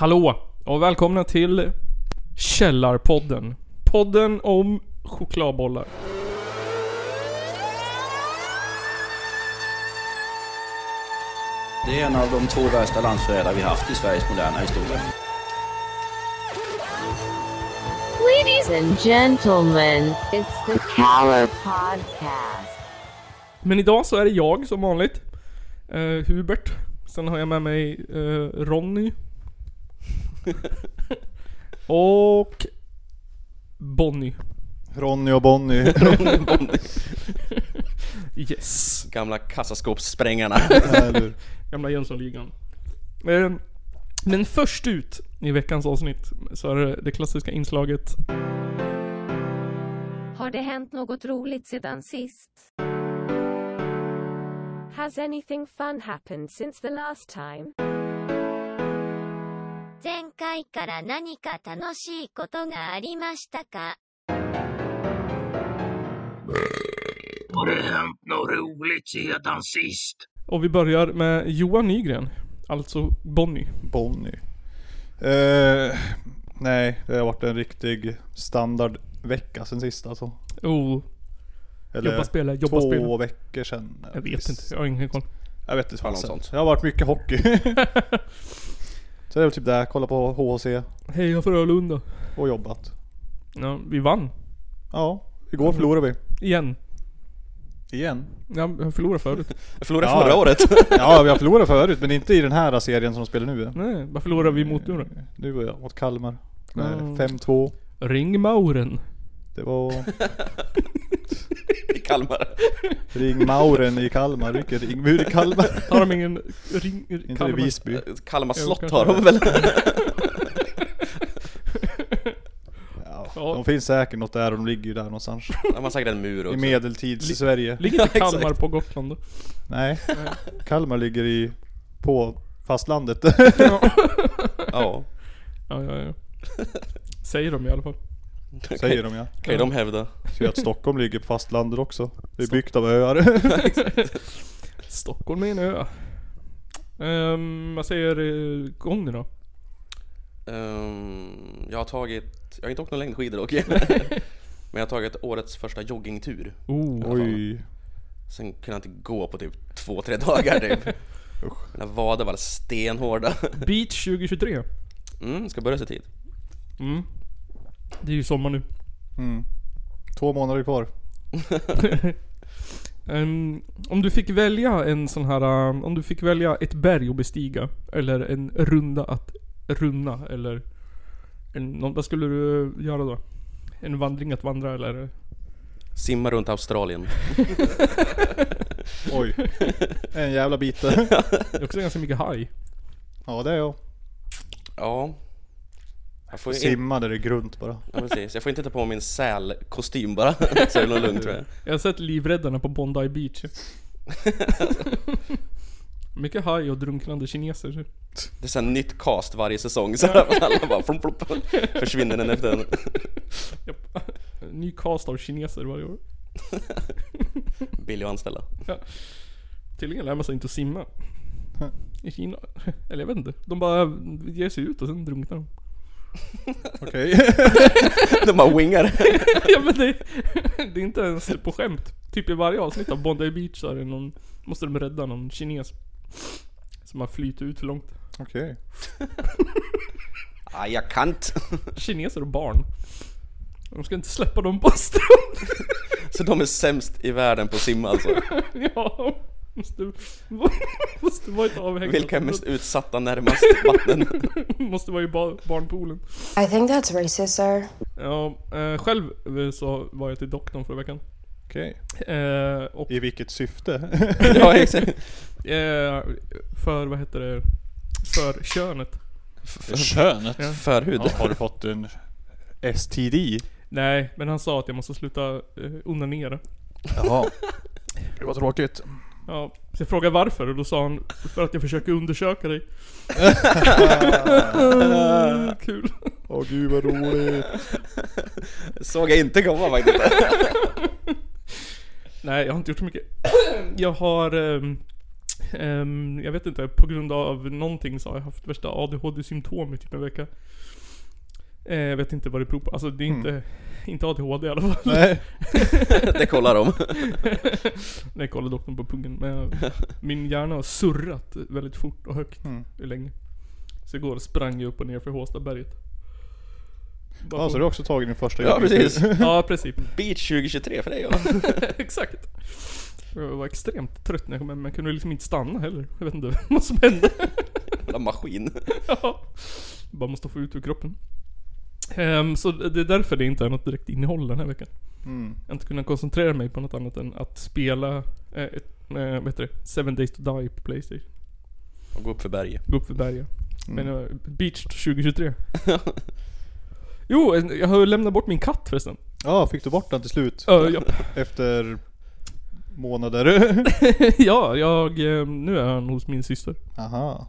Hallå och välkomna till Källarpodden. Podden om chokladbollar. Det är en av de två värsta landsförrädare vi haft i Sveriges moderna historia. Ladies and gentlemen, it's the Caller Podcast. Men idag så är det jag som vanligt. Eh, Hubert. Sen har jag med mig eh, Ronny. och Bonnie. Ronny och Bonnie. Yes. Gamla kassaskåpssprängarna. Eller, Gamla Jönssonligan. Eh, Men först ut i veckans avsnitt så är det det klassiska inslaget Har det hänt något roligt sedan sist? Has anything fun happened since the last time? 前回から何か楽しいことがありましたか Har det hänt något roligt sedan sist? och vi börjar med Johan Nygren. Alltså Bonnie. Bonnie. Eh, nej, det har varit en riktig standardvecka sen sist alltså. Oh, Eller Jobba, spela, jobba, två spela. veckor sen. jag vet inte. Jag har ingen koll. Jag vet inte Fan, fasen. något sånt. Det har varit mycket hockey. Så det är väl typ det. Kolla på HC Heja Frölunda. och jobbat. Ja, vi vann. Ja, igår Mm. förlorade vi. Igen. Igen. Ja, jag förlorade förut. Jag förlorade Ja. förra året. Ja, vi har förlorat förut men inte i den här serien som de spelar nu. Nej, vad förlorade vi mot nu då? Du och jag mot Kalmar. Nej, Mm. 5-2. Ring Mauren. Det var... I Kalmar. Ring Mauren i Kalmar, vilken ringmur i Kalmar. Har de ingen ring... Inte det Kalmar? Visby? Kalmar Jo, slott kanske har de det. väl? Ja, Ja. De finns säkert något där och de ligger ju där någonstans. De har säkert en mur I också. medeltids-Sverige. Ligger inte Ja, exakt. Kalmar på Gotland då? Nej. Kalmar ligger i... På fastlandet. Ja, Ja, ja, ja. ja. Säger de i alla fall. Säger de ja. kan ju de hävda. Så att Stockholm ligger på fastlandet också. Det är byggt av öar. Stockholm är en ö. Ehm, vad säger eh, gång nu då? Ehm, jag har tagit, jag har inte åkt några längdskidor dock. Men jag har tagit årets första joggingtur. Oh, Oj. Sen kunde jag inte gå på typ två, tre dagar typ. Mina vader var stenhårda. Beach 2023. Mm, ska börja så tid. Mm. Det är ju sommar nu. Mm. Två månader kvar. Ehm, om du fick välja en sån här, eh, om du fick välja ett berg att bestiga, eller en runda att runna, eller en, någon- vad skulle du göra då? En vandring att vandra eller? Simma runt Australien. Oj. En jävla bit. Det är också ganska mycket haj. Ja det är jag. Ja. Jag får, ju in, Simma där det är grunt bara. ja, precis. jag får inte ta på mig min sälkostym bara. Så är det nog lugnt tror jag. Jag har sett livräddarna på Bondi Beach. mycket haj och drunknande kineser. typ. Det är såhär nytt cast varje säsong så här, alla bara flum, flum, flum, försvinner den efter den. Japp. Ny cast av kineser varje år. Billig att anställa. Tydligen lär man sig inte att simma. I Kina. Eller jag vet inte. De bara ger sig ut och sen drunknar de. Okej. De bara wingar. ja men det, det är inte ens på skämt. Typ i varje avsnitt av Bondi Beach så är det någon, måste de rädda någon kines. Som har flytt ut för långt. Okej. Ah, jag kan inte. Kineser och barn. De ska inte släppa dem på stranden. Så de är sämst i världen på att simma alltså. ja. Måste, måste vara ett avhängigt. Vilka är mest utsatta närmast vatten? Måste vara i ba- barnpoolen. I think that's racist, sir. Ja, eh, själv eh, så var jag till doktorn förra veckan. Okej. Eh, och I vilket syfte? Ja exakt. Eh, för, vad heter det? För könet. Könet. Förhud. Ja, har du fått en STD? Nej, men han sa att jag måste sluta eh, onanera. Jaha. Det var tråkigt. Ja, så jag frågade varför och då sa han för att jag försöker undersöka dig. Mm. Kul. Åh gud vad roligt. Såg jag inte komma faktiskt. Nej, jag har inte gjort så mycket. Jag har ehm, Ehm, jag vet inte, på grund av någonting så har jag haft värsta ADHD-symptom i typ en vecka. Eh, jag vet inte vad det beror på. Alltså det är inte, inte ADHD i alla fall. Mm. Nej. Det kollar de. Nej, jag kollade doktorn på pungen. Men jag, min hjärna har surrat väldigt fort och högt Mm. länge. Så igår sprang jag upp och ner för Håstaberget. Bara Ja, så för- du har också tagit din första Ja, precis. Ja, precis. Beach 2023 för dig ja. Exakt. Jag var extremt trött när jag kom hem, men jag kunde liksom inte stanna heller. Jag vet inte vad som hände. Jävla maskin. Ja. Bara måste få ut ur kroppen. Ehm, så det är därför det inte är något direkt innehåll den här veckan. Mm. Jag har inte kunnat koncentrera mig på något annat än att spela, eh, ett, eh, vad heter det? Seven Days To Die på Playstation. Och gå upp för berget. Gå upp för berget. Men eh, jag Beach 2023. jo, en- jag har ju lämnat bort min katt förresten. Ja, fick du bort den till slut? Ö, ja, Efter månader? ja, jag, eh, nu är han hos min syster. Aha.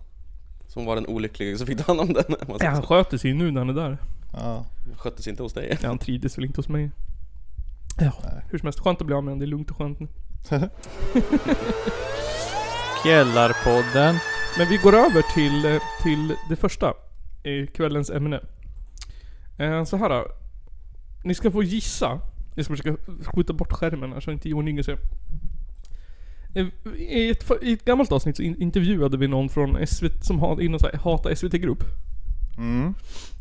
Som var den olyckliga som fick ta hand om den. om man säger Han så. sköter sig nu när han är där. Ja. Sköttes inte hos dig. Ja, han trivdes väl inte hos mig. Ja, hur som helst. Skönt att bli av med honom. Det är lugnt och skönt nu. Källarpodden. Men vi går över till, eh, till det första. eh, Kvällens ämne. Eh, Så här. då. Ni ska få gissa. Jag ska försöka skjuta bort skärmen här så inte Johan Yngve ser. Eh, I ett, för- I ett gammalt avsnitt så in- intervjuade vi någon från SVT som har inom så här, Hata SVT-grupp. Mm.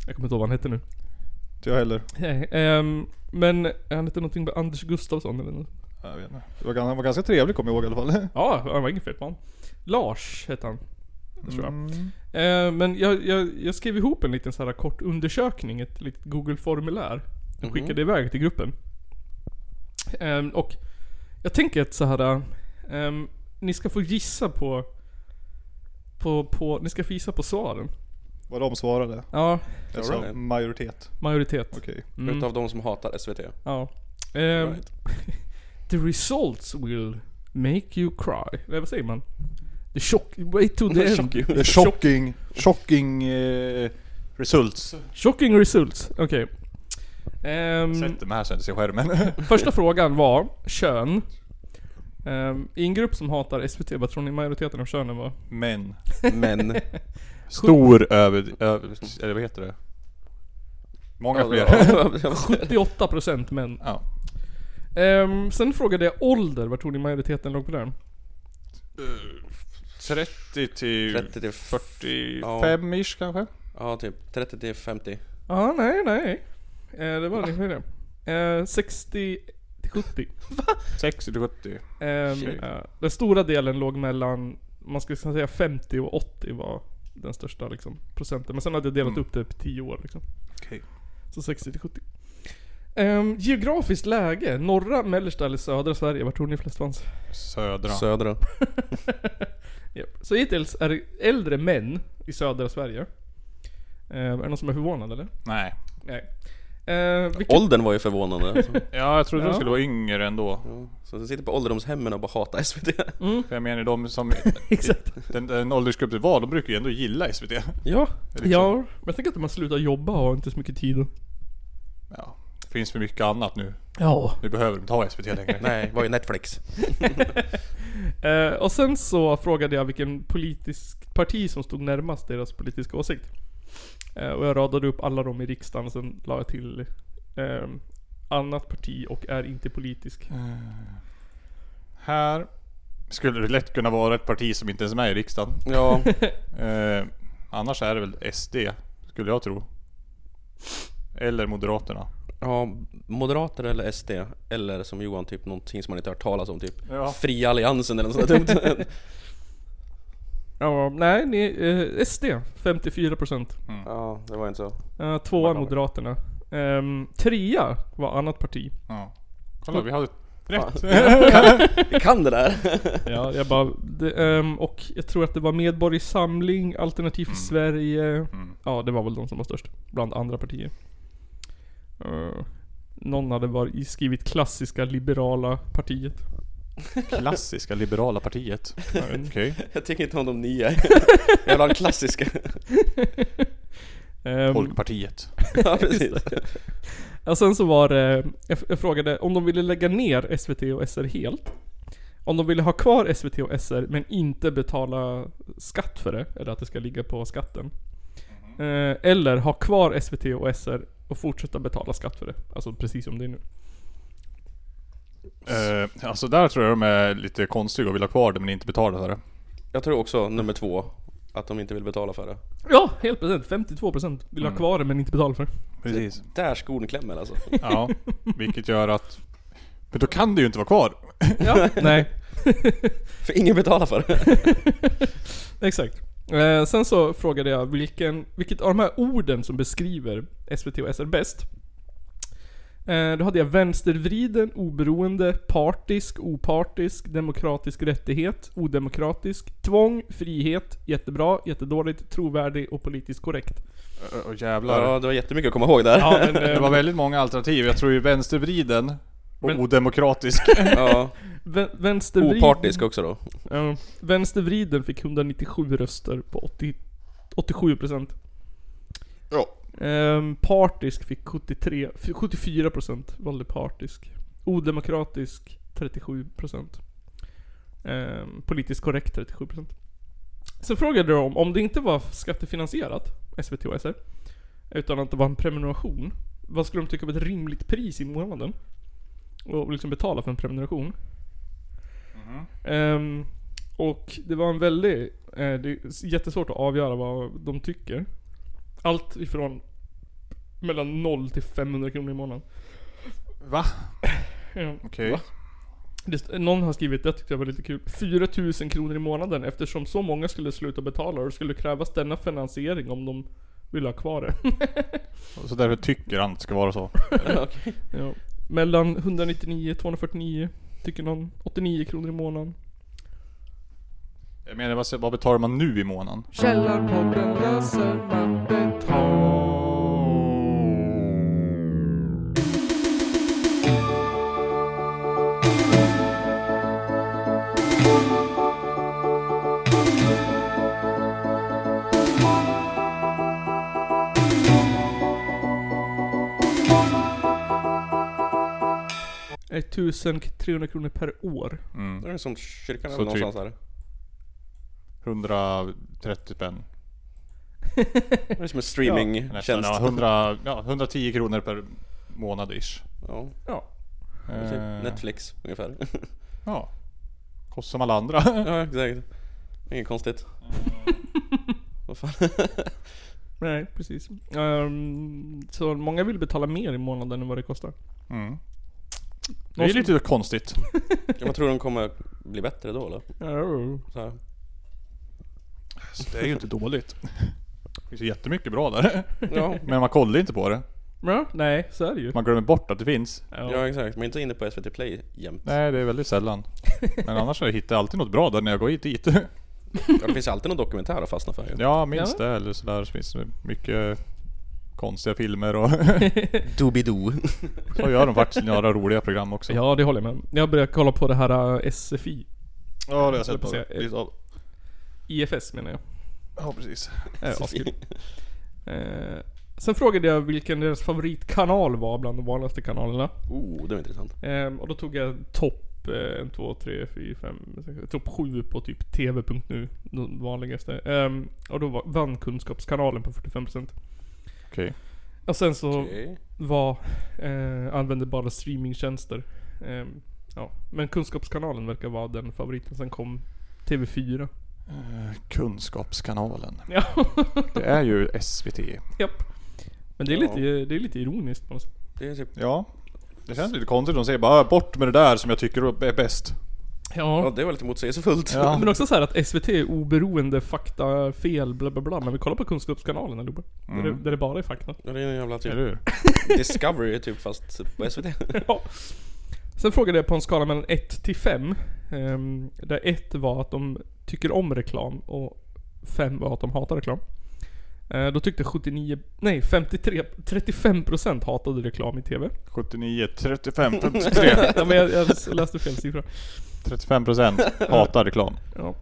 Jag kommer inte ihåg vad han hette nu. Inte jag heller. Nej, ehm, men han hette någonting med Anders Gustafsson eller något. Jag vet inte. Det var, gan- han var ganska trevlig kommer jag ihåg i alla fall. Ja, han var ingen fet man. Lars hette han. Tror jag. Mm. Eh, men jag, jag, jag skrev ihop en liten så här kort undersökning, ett litet Google-formulär. Och skickade iväg till gruppen. Ehm, och jag tänker att så här. ehm, ni ska få gissa på, på, på... Ni ska få gissa på svaren. Vad de svarade. Ja, Alltså det? majoritet. majoritet. Okej. Mm. Utav de som hatar SVT. Ja. Ehm, Right. The results will make you cry. Nej, vad säger man? The shock... Wait to the end. Shock you. Det är Shocking. Shocking eh, results. Shocking results. Okej. Ehm, Sätt dem här sen till skärmen. första frågan var kön. Ehm, I en grupp som hatar SVT, vad tror ni majoriteten av könen var? Men. Men. Stor över... över eller vad heter det? Många Ja, fler. det- 78% män. Ja. Ehm, sen frågade jag ålder, vad tror ni majoriteten låg på den? 30 till 30 till 40... Ja. 5-ish kanske? Ja, typ 30 till 50. Ja, ah, nej, nej. Eh, det var ungefär det. Eh, 60 till 70. 60 till 70. Ehm, Shit. eh, den stora delen låg mellan, man skulle kunna säga 50 och 80 var den största liksom, procenten. Men sen hade jag delat upp det på 10 år liksom. Okej. Så 60 till 70. Ehm, geografiskt läge, norra, mellersta eller södra Sverige? Var tror ni flest fanns? Södra. Södra. Japp. Så hittills är det äldre män i södra Sverige. Ehm, är det någon som är förvånad eller? Nej. Nej. Ehm, vilket, Åldern var ju förvånande. Alltså. Ja, jag trodde Ja. de skulle vara yngre ändå. Så de sitter på ålderdomshemmen och bara hatar SVT. För jag menar de som... Exakt. Den, den åldersgrupp det var, de brukar ju ändå gilla SVT. ja, liksom. ja, men jag tänker att man slutar jobba och har inte så mycket tid. Ja. Det finns för mycket annat nu. Ja. Nu behöver de inte ha SVT längre. Nej, var ju Netflix. Eh, och sen så frågade jag vilken politisk parti som stod närmast deras politiska åsikt. Eh, och jag radade upp alla dem i riksdagen och sen la jag till ehm, annat parti och är inte politisk. Här skulle det lätt kunna vara ett parti som inte ens är med i riksdagen. Ja, Eh, annars är det väl SD, skulle jag tro. Eller Moderaterna. ja, moderater eller SD. Eller som Johan, typ någonting som man inte hört talas om. Typ Ja. Fria Alliansen eller något sånt där dumt. Ja, nej, ni, eh, SD 54%. Ja, det var inte så. Eh, tvåa Moderaterna. Ehm, trea var annat parti. Ja. Kolla, vi hade rätt. Vi kan det där! Ja, jag bara, det, ehm, och jag tror att det var Medborgerlig Samling, Alternativ för Sverige. Ja, det var väl de som var störst. Bland andra partier. Eh, någon hade var, skrivit klassiska liberala partiet. Klassiska liberala partiet. Okej. Jag tycker inte om de nya. Jag vill ha den klassiska. Ehm, Folkpartiet. Ja, precis. och sen så var det, jag, jag frågade om de ville lägga ner SVT och SR helt. Om de ville ha kvar SVT och SR men inte betala skatt för det, eller att det ska ligga på skatten. Eh, eller ha kvar SVT och SR och fortsätta betala skatt för det. Alltså precis som det är nu. Eh, alltså där tror jag de är lite konstiga och vill ha kvar det men inte betala för det. Jag tror också nummer två, att de inte vill betala för det. Ja, helt procent. 52% vill ha kvar det men inte betala för det. Precis. Där skon klämmer alltså. Ja, vilket gör att... Men då kan det ju inte vara kvar. Ja, nej. För ingen betalar för det. Exakt. Eh, sen så frågade jag vilken, vilket av de här orden som beskriver SVT och SR bäst. Eh, då hade jag vänstervriden, oberoende, partisk, opartisk, demokratisk rättighet, odemokratisk, tvång, frihet, jättebra, jättedåligt, trovärdig och politiskt korrekt. Åh jävlar. Ja, det var jättemycket att komma ihåg där. Ja, men, Det eh, var väldigt många alternativ. Jag tror ju vänstervriden och Men- odemokratisk. Ja. vä- vänstervriden, Opartisk också då. Ja, vänstervriden fick 197 röster på 80, 87%. Ja. Ehm, partisk fick 73, f- 74% valde partisk. Odemokratisk 37%. Ehm, politiskt korrekt 37%. Sen frågade de om, om det inte var skattefinansierat, SVT och SR, utan att det var en prenumeration. Vad skulle de tycka var ett rimligt pris i månaden? Och liksom betala för en prenumeration. Ehm, och det var en väldigt... eh, det är jättesvårt att avgöra vad de tycker. Allt ifrån mellan 0 till 500 kronor i månaden. Va? Ja. Okej. Va? Det, någon har skrivit, det tyckte jag var lite kul, 4000 kronor i månaden eftersom så många skulle sluta betala och det skulle krävas denna finansiering om de ville ha kvar det. Så därför tycker han att det ska vara så. Ja. Mellan 199 249 tycker någon. 89 kronor i månaden. Jag menar vad, vad betalar man nu i månaden? Källarpodden läser är 1300 kronor per år. Det är som kyrkan Så typ. eller någonstans här. 130 spänn. Det är som en Nästan, streamingtjänst. ja, 100, ja, 110 kronor per månad ish. Ja, Ja. typ Eh, Netflix ungefär. Ja. Kostar som alla andra. Mm. Ja, exakt. Inget konstigt. Vad fan? Nej, precis. Ehm, så många vill betala mer i månaden än vad det kostar. Mm. Det Någon är som- lite konstigt. Jag tror de kommer bli bättre då eller? Ja, Så här. Det är ju inte dåligt. Det finns ju jättemycket bra där. Ja. Men man kollar inte på det. Ja, nej, så är det ju. Man glömmer bort att det finns. ja, exakt. Man är inte inne på SVT Play jämt. Nej, det är väldigt sällan. Men annars har jag hittat alltid något bra där när jag går hit dit. Ja, det finns ju alltid någon dokumentär att fastna för ju. Ja, minst det eller sådär. Så finns det mycket konstiga filmer och Doobidoo. så gör de faktiskt några roliga program också. Ja, det håller jag med om. Jag började kolla på det här eh, SFI. ja det har jag sett på lite IFS menar jag. Ja, precis. Eh, askul. Eh, sen frågade jag vilken deras favoritkanal var bland de vanligaste kanalerna. Oh, det var intressant. Ehm, och då tog jag topp eh, en, två, tre, fyra, fem, sex, topp sju på typ TV.nu. De vanligaste. Ehm, och då var, vann Kunskapskanalen på 45%. Okej. Och sen så Okej. var, eh, använde bara streamingtjänster. Ehm, ja. Men Kunskapskanalen verkar vara den favoriten. Sen kom TV4. Kunskapskanalen. Ja. Det är ju SVT. Japp. Men det är, Ja. lite, det är lite ironiskt på något sätt. Det är typ... Ja. Det känns lite konstigt. De säger bara "Ah, bort med det där som jag tycker är bäst. Ja, Ja. det var lite motsägelsefullt. Ja. Men också så här att SVT är oberoende, fakta, fel, bla bla bla. Men vi kollar på Kunskapskanalen allihopa. Där, det, där det bara är fakta. Ja, det är en jävla typ Eller hur? Discovery typ fast på SVT. Ja. Sen frågade jag på en skala mellan 1 till 5. ehm, där 1 var att de tycker om reklam och 5 var att de hatar reklam. Eh, då tyckte 79, nej 53, 35% hatade reklam i TV. 79, 35, 53. Ja, men jag, jag läste fel siffra. 35 procent hatar reklam. Ja.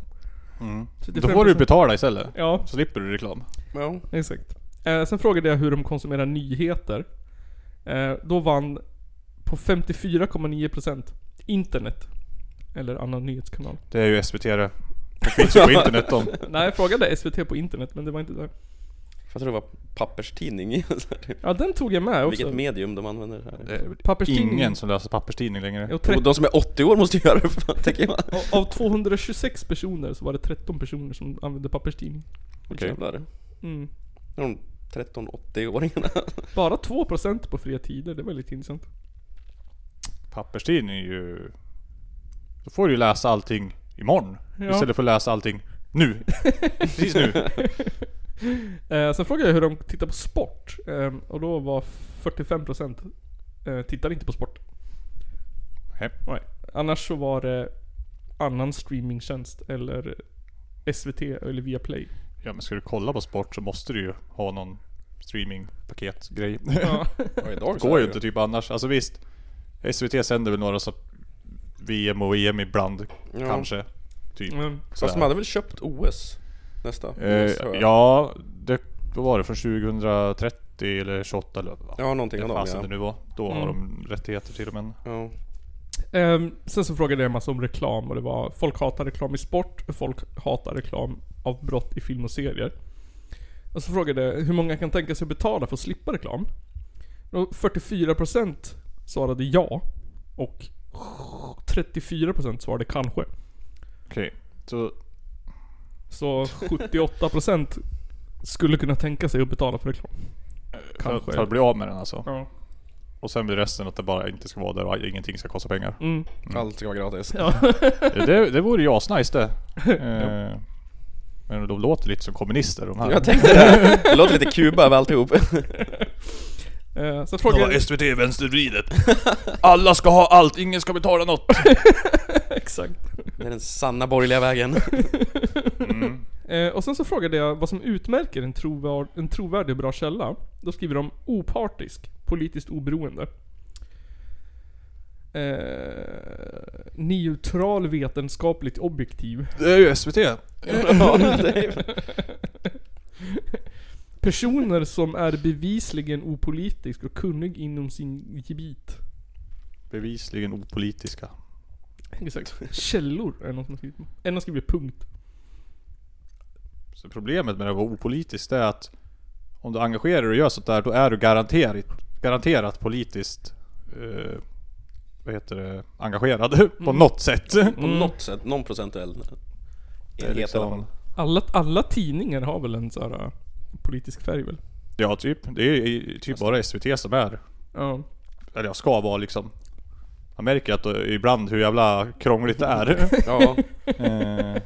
Mm. Då 35%. får du betala istället. Ja, Så slipper du reklam. Ja. exakt. Eh, sen frågade jag hur de konsumerar nyheter. Eh, då vann på 54,9% internet. Eller annan nyhetskanal. Det är ju SVT det. Det finns ju på internet de. Nej, jag frågade SVT på internet men det var inte där. Jag tror det var papperstidning. Så här, Ja, den tog jag med också. Vilket medium de använder här. Det är väl Papperstidning. Ingen som läser papperstidning längre. Jo, 30, Och de som är 80 år måste ju göra det, för fan, tänker jag. av- av 226 personer så var det 13 personer som använde papperstidning. Okej. Jävlar. Mm. De 13-80-åringarna. Bara 2% på fria tider, det var lite intressant. Papperstidning är ju... Då får du ju läsa allting imorgon. Ja. Istället för att läsa allting nu. Precis nu. Eh, sen frågade jag hur de tittar på sport. Eh, och då var 45% eh, tittar inte på sport. Nej. Nej. Annars så var det annan streamingtjänst eller SVT eller Viaplay. Ja men ska du kolla på sport så måste du ju ha någon streamingpaketgrej. Ja. Ja, idag Det går ju inte typ annars. Alltså visst. SVT sänder väl några så VM och EM ibland Ja. kanske. Typ. Mm. Fast Sådär. de hade väl köpt OS? Nästa? OS, tror Eh, jag. ja, det vad var det från 2030 eller 28 eller vad Ja, någonting av dem fasen det ja. nu var. Då har Mm. de rättigheter till dem än. ja. Ehm, sen så frågade jag en massa om reklam och det var folk hatar reklam i sport, folk hatar reklam av brott i film och serier. Och så frågade jag hur många kan tänka sig att betala för att slippa reklam? Och 44% svarade ja och 34% svarade kanske. Okej. Så Så 78% skulle kunna tänka sig att betala för reklam. för att, Kanske. för att bli av med den alltså. Ja. Och sen blir resten att det bara inte ska vara där och ingenting ska kosta pengar. Mm. Allt ska vara gratis. Eh, det, det vore ju asnice det. Eh, men de låter lite som kommunister de här. Jag tänkte det. Det låter lite Kuba över alltihop. Eh, sen frågade jag... SVT vänstervridet. Alla ska ha allt, ingen ska betala något. Exakt. Det är den sanna borgerliga vägen. Eh, och sen så frågade jag vad som utmärker en, trovär- en trovärdig och bra källa. Då skriver de opartisk, politiskt oberoende. Eh, neutral, vetenskapligt objektiv. Det är ju SVT. Ja, det är- Personer som är bevisligen opolitisk och kunnig inom sin gebit. Bevisligen opolitiska. Exakt. Källor är något som har skrivit. En har skrivit punkt. Så problemet med att vara opolitisk det är att om du engagerar dig och gör sånt där, då är du garanterat, garanterat politiskt eh, vad heter det, engagerad på Mm. något sätt. På något sätt, någon procentuell Det är enhet i alla fall. liksom, Alla, alla tidningar har väl en sån här eh, politisk färg väl? ja, typ. Det är ju typ bara SVT som är, Ja. eller jag ska vara liksom. Man märker att eh, ibland hur jävla krångligt det är. Ja, Eh,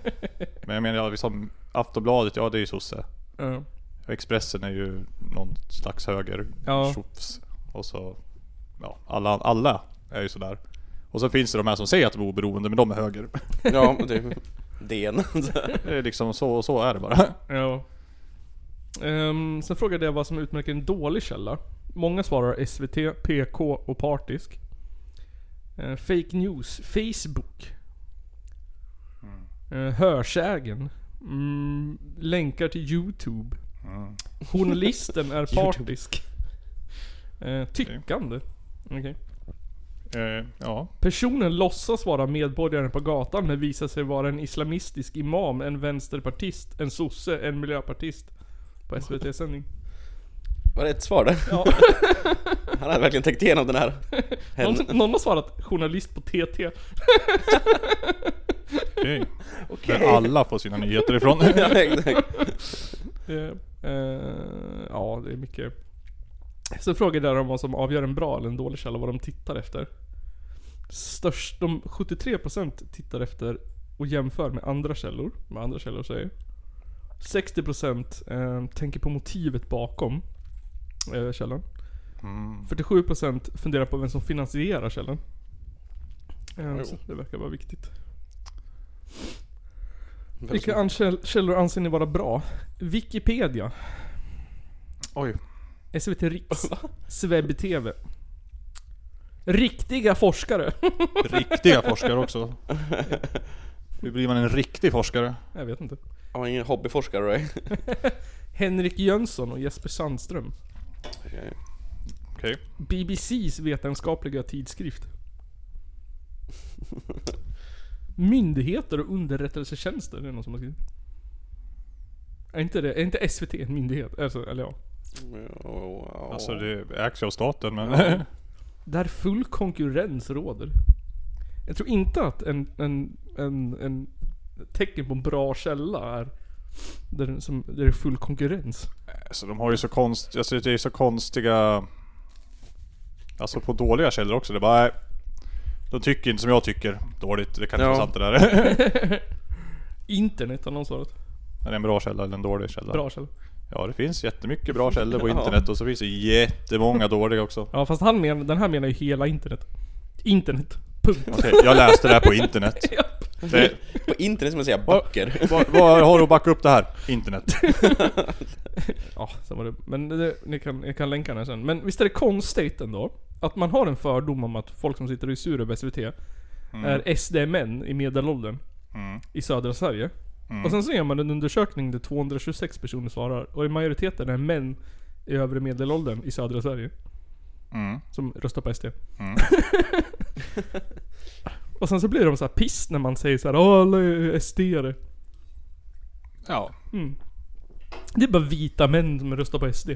Men jag menar ja, liksom Aftonbladet, ja det är ju sosse. ja. Och Expressen är ju någon slags höger Ja. tjofs. Och så, ja alla, alla är ju sådär. Och så finns det de här som säger att de är oberoende men de är höger. ja typ. DN. Det är liksom så, så är det bara. Ja. Ehm, sen frågade jag vad som utmärker en dålig källa. Många svarar SVT, PK och partisk. Eh, fake news, Facebook. Eh, hörsägen. Mm, länkar till YouTube. Journalisten är partisk. Eh, tyckande. Okej. Eh, ja. Personen låtsas vara medborgaren på gatan men visar sig vara en islamistisk imam, en vänsterpartist, en sosse, en miljöpartist. På SVT-sändning. Var det ett svar där? Ja. Han hade verkligen tänkt igenom den här. Hen. Någon, någon har svarat journalist på TT. Okej. Men alla får sina nyheter ifrån. Ja, exakt. Eh, eh, ja, det är mycket. Sen frågade jag dem vad som avgör en bra eller en dålig källa, vad de tittar efter. Störst, de 73% tittar efter och jämför med andra källor, vad andra källor säger. 60% eh, tänker på motivet bakom eh, källan. Mm. 47% funderar på vem som finansierar källan. Eh, så det verkar vara viktigt. Vilka ankäll- källor anser ni vara bra? Wikipedia. Oj. SVT Riks. Sveb TV. Riktiga forskare. Riktiga forskare också. Hur blir man en riktig forskare? Jag vet inte. Han var ingen hobbyforskare right? Henrik Jönsson och Jesper Sandström. Okej. BBC's vetenskapliga tidskrift. Myndigheter och underrättelsetjänster, är det någon som har skrivit. Är inte, det, är inte SVT en myndighet? Alltså, eller ja. Ja. Alltså det ägs ju av staten men... Där full konkurrens råder. Jag tror inte att en, en, en, en tecken på en bra källa är där, den som, där det är full konkurrens. Alltså de har ju så konst... Alltså det är så konstiga... Alltså på dåliga källor också. Det är bara... nej, De tycker inte som jag tycker. Dåligt. Det kan inte Ja. vara sant det där. Internet har någon svarat. är det en bra källa eller en dålig källa? Bra källa. Ja det finns jättemycket bra källor på internet och så finns det jättemånga dåliga också. Ja fast han men, den här menar ju hela internet. Internet. Punkt. Okej, jag läste det här på internet. Det, På internet ska man säga böcker. vad, vad har du att backa upp det här? Internet. Ja, sen var det. Men det, ni kan, jag kan länka den här sen. Men visst är det konstigt ändå? Att man har en fördom om att folk som sitter i Sureb SVT är SD-män i medelåldern. I södra Sverige. Och sen så gör man en undersökning där 226 personer svarar. Och i majoriteten är män i övre medelåldern i södra Sverige. Mm. Som röstar på SD. och sen så blir de så här piss när man säger så här, Åh, alla är SD-are. Ja. Det är bara vita män som röstar på SD.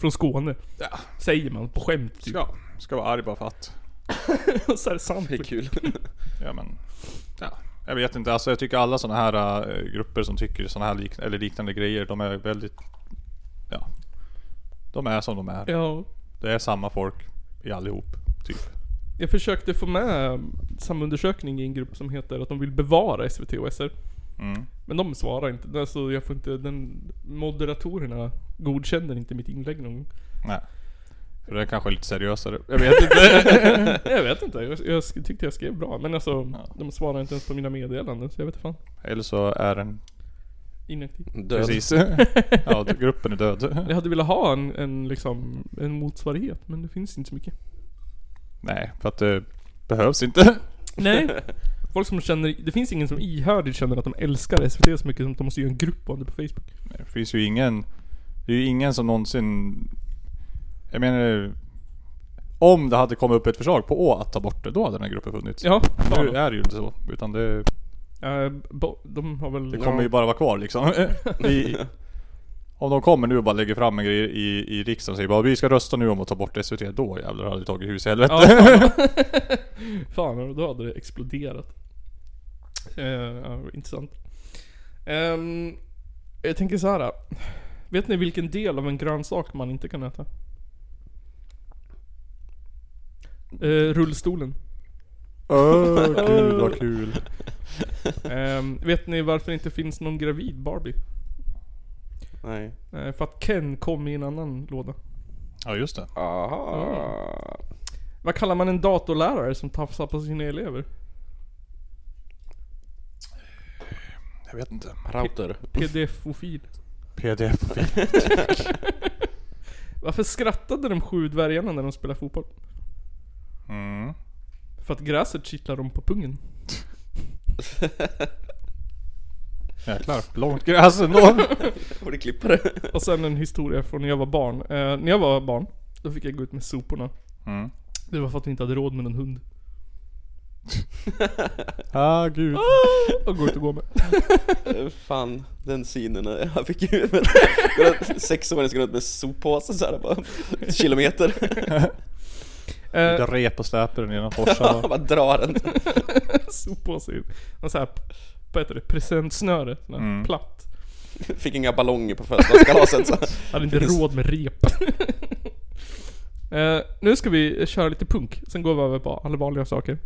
Från Skåne. Ja. Säger man på skämt typ. Ska, ska vara arg bara för att. Och så är det sant. Det är kul. Ja men... Ja. Jag vet inte, alltså jag tycker alla sådana här eh, grupper som tycker sådana här lik, eller liknande grejer, de är väldigt... Ja. De är som de är. Ja. Det är samma folk i allihop, typ. Jag försökte få med samma undersökning i en grupp som heter att de vill bevara SVT och SR. Mm. Men de svarar inte. Alltså jag får inte, den, moderatorerna godkänner inte mitt inlägg någon gång. Nej. För det är kanske lite seriösare. Jag vet inte. Jag vet inte, jag, jag sk- tyckte jag skrev bra. Men alltså, Ja. de svarar inte ens på mina meddelanden så jag vet fan. Eller så är den... Inaktiv. Död. Precis. Ja, gruppen är död. Jag hade velat ha en, en liksom, en motsvarighet men det finns inte så mycket. Nej, för att det behövs inte. Nej. Folk som känner, det finns ingen som ihärdigt känner att de älskar SVT så mycket som att de måste göra en grupp om det på Facebook. Det finns ju ingen... Det är ju ingen som någonsin... Jag menar... Om det hade kommit upp ett förslag på Å att ta bort det, då hade den här gruppen funnits. Ja, Nu fan. är det ju inte så. Utan det, Eh, bo, de har väl... det kommer ju bara vara kvar liksom. I, om de kommer nu och bara lägger fram en grej i, i riksdagen och säger bara vi ska rösta nu om att ta bort SVT. Då jävlar hade det tagit hus i helvete. Ja, fan. fan, då hade det exploderat. Eh, ja, intressant. Ehm, jag tänker så här. eh. Vet ni vilken del av en grönsak man inte kan äta? Eh, rullstolen. Åh gud vad kul. Ehm, vet ni varför det inte finns någon gravid Barbie? Nej. Eh, för att Ken kom i en annan låda. Ja just det. Aha. Vad kallar man en datorlärare som tafsar på sina elever? Jag vet inte. Router. Pedofofil. PDF och film. Varför skrattade de sju dvärgarna när de spelade fotboll? Mm. För att gräset kittlar dem på pungen. Jäklar. Långt gräs ändå. Får du klippa det? Och sen en historia från när jag var barn. Eh, när jag var barn, då fick jag gå ut med soporna. Mm. Det var för att vi inte hade råd med en hund. Ah gud. Och gå ut och gå med. Eh, Fan, den synen när jag fick ju Sexåringen skulle ut med soppåsen såhär bara Kilometer Eh, Jag rep och släpade den genom Ja, forsarna. Bara drar den Soppåse in. Och så här, vad heter det? Presentsnöre. Sån här Mm. Platt. Fick inga ballonger på födelsedagskalaset så Hade inte Finns- råd med rep. Eh, nu ska vi köra lite punk, sen går vi över på allvarliga saker.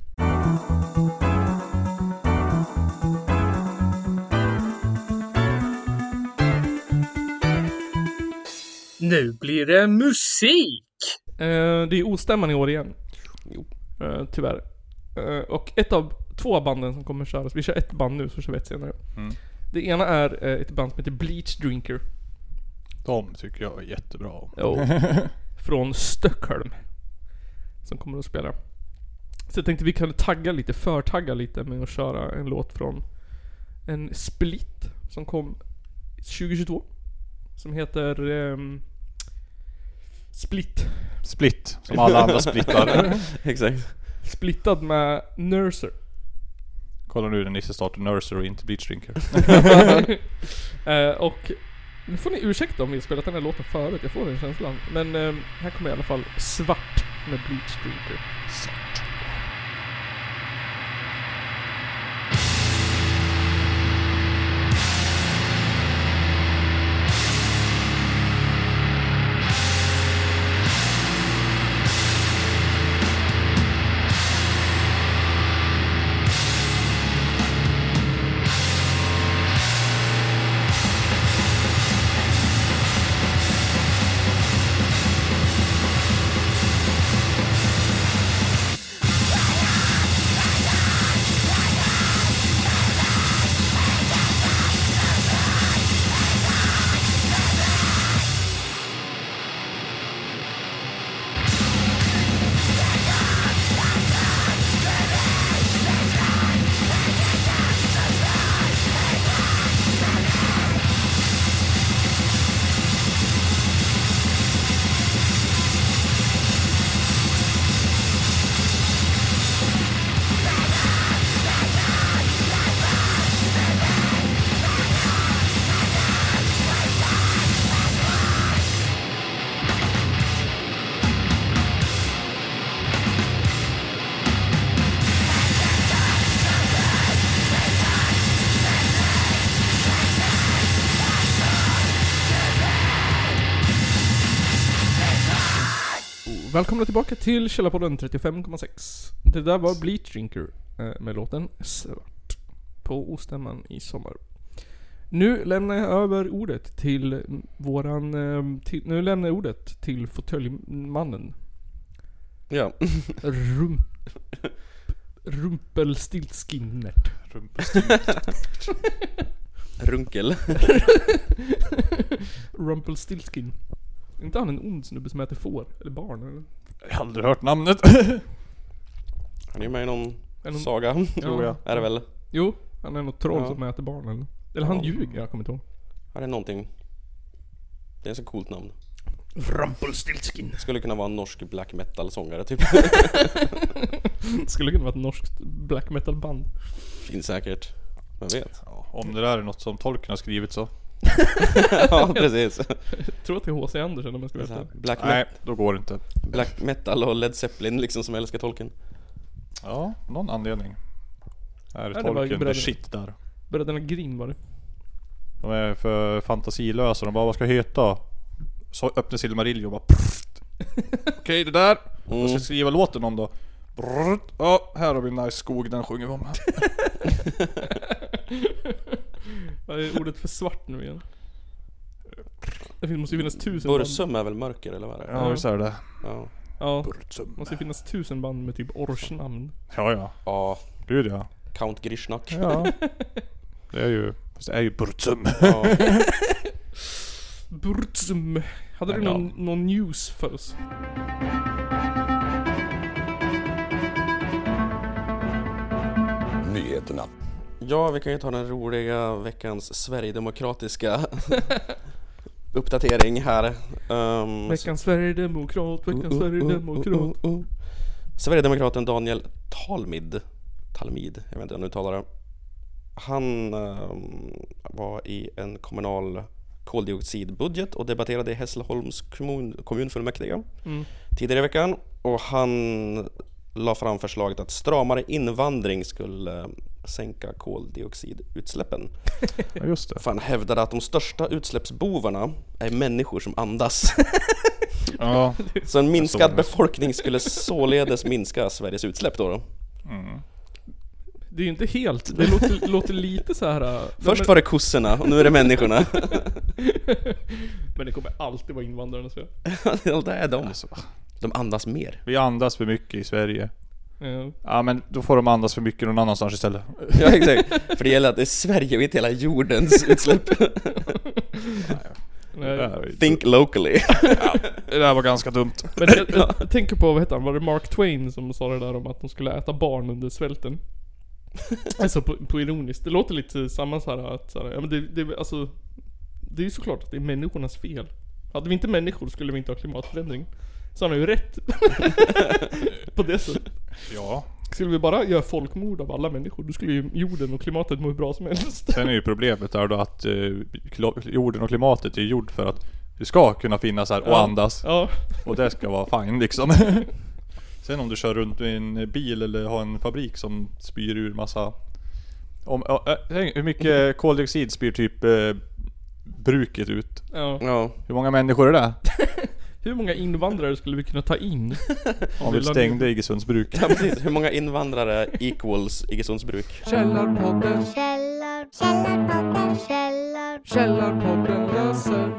Nu blir det musik! Eh, det är ostämman i år igen. Jo. Eh, tyvärr. Eh, och ett av två av banden som kommer köras, vi kör ett band nu så kör vi ett senare. Det ena är eh, ett band som heter Bleach Drinker. De tycker jag är jättebra om. Från Stockholm. Som kommer att spela. Så jag tänkte vi kan tagga lite, förtagga lite med att köra en låt från en split som kom 2022. Som heter ehm, Split. Split. Som alla andra splittar. Exakt Splittad med Nurser. Kolla nu när Nisse startar Nursery, inte Bleach Drinker. Eh, och nu får ni ursäkta om vi har spelat den här låten förut, jag får den känslan. Men eh, här kommer i alla fall Svart med Bleach Drinker. Och Välkomna tillbaka till Källarpodden 35,6. Det där var Bleach Drinker eh, med låten Svart. På Ostämman i sommar. Nu lämnar jag över ordet till våran... eh, Till, nu lämnar jag ordet till fåtöljmannen. Ja. Rump... Rumpelstiltskinnet. Runkel. Rumpelstiltskin. Är inte han en ond snubbe som äter får? Eller barn? Eller? Jag har aldrig hört namnet. Han är ju med i Eller- någon saga, Tror jag. Är det väl? Jo, han är något troll Ja. som äter barn eller? Eller han Ja. ljuger, jag kommer inte ihåg. Ja, det är någonting. Det är ett så coolt namn. Rumpelstiltskin. Skulle kunna vara en norsk black metal-sångare typ. Skulle kunna vara ett norskt black metal band. Finns säkert. Vem vet? Om det där är något som tolken har skrivit så. ja, precis. Jag tror att det är H.C. Andersen om jag ska Så veta. här, Black, Nej, me- då går det inte. black metal och Led Zeppelin liksom som älskar tolken. Ja, någon anledning. Är det var ju tolken the bröderna. shit där. Bröderna Grimm var det. De är för fantasilösa. De bara, vad ska jag heta? Så öppnar Silmarillion och bara prrrt. Okej, det där. Vad ska jag skriva låten om då? Brrrt. Ja, här har vi en nice skog. Den sjunger vi om. Vad är ordet för svart nu igen? Det finns- måste ju finnas tusen band. Bursum är väl mörker eller vad är det? Mm. Ja, visst är det Ja. Ja, Burtsum. måste ju finnas tusen band med typ orsnamn. Ja, ja. ja. Gud ja. Count Grishnak. Ja. Det är ju... Fast det är ju Burtsum. Ja. Burtsum. Hade du Ja. någon, någon news för oss? Nyheterna. ja, vi kan ju ta den roliga veckans sverigedemokratiska uppdatering här. Um, Veckans Sverigedemokrat, veckans Oh, oh, oh, Sverigedemokrat. oh, oh. Sverigedemokraten Daniel Talmid, Talmid, jag vet inte hur han uttalar det. Han ehm, var i en kommunal koldioxidbudget och debatterade i Hässleholms kommun, kommunfullmäktige Mm. tidigare i veckan. Och han la fram förslaget att stramare invandring skulle eh, sänka koldioxidutsläppen. Ja, just det. För han hävdade att de största utsläppsbovarna är människor som andas. Ja. Så en det. minskad befolkning skulle således minska Sveriges utsläpp då. då. Mm. Det är ju inte helt, det låter, låter lite så här. äh, Först var det kossorna och nu är det människorna. Men det kommer alltid vara invandrarnas fel. Ja, det är de. De andas mer. Vi andas för mycket i Sverige. Ja. Ja, men då får de andas för mycket någon annanstans istället. Ja exakt. För det gäller att det är Sverige och inte hela jordens utsläpp. Det Nej. där, Think locally. det där var ganska dumt. Men jag, jag, jag tänker på, vad heter han, var det Mark Twain som sa det där om att de skulle äta barn under svälten? alltså på, på ironiskt, det låter lite samma så här att så här, ja men det, det, alltså, det är ju såklart att det är människornas fel. Hade vi inte människor skulle vi inte ha klimatförändring. Så han har ju rätt. på det sättet. Ja. Skulle vi bara göra folkmord av alla människor, då skulle ju jorden och klimatet må hur bra som helst. Sen är ju problemet är då att eh, klo- jorden och klimatet är gjord för att du ska kunna finnas här och Ja. andas. Ja. Och det ska vara fine liksom. Sen om du kör runt med en bil eller har en fabrik som spyr ur massa... Om, ja, äh, tänk hur mycket koldioxid spyr typ eh, bruket ut? ja. Ja. Hur många människor är det? Hur många invandrare skulle vi kunna ta in? Om vi stängde Iggesunds bruk. ja, precis. Hur många invandrare equals Iggesunds bruk? Källarpodden, Källar, källarpodden, källar, Källarpodden löser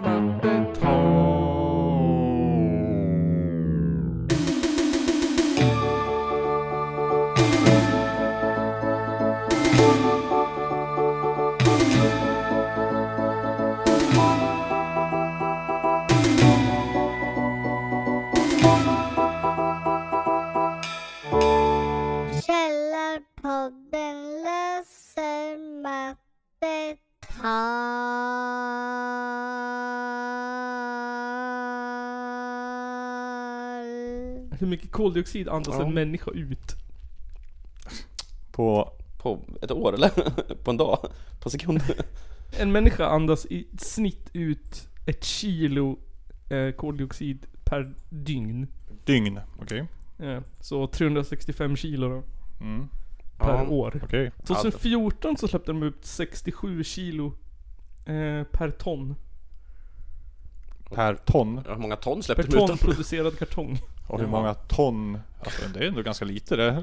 källarpodden löser mattetal. Hur mycket koldioxid andas Ja. en människa ut? På... På ett år eller? På en dag? På en sekund? En människa andas i snitt ut ett kilo eh, koldioxid per dygn. Dygn. Okej. Ja, så 365 kilo då, Mm. per Ja. år. Okej. 2014 så släppte de ut 67 kilo eh, per ton. Per ton. Ja, Hur många ton Per släppte de ton ut? producerad kartong. Och hur många ton? Alltså det är ändå ganska lite det.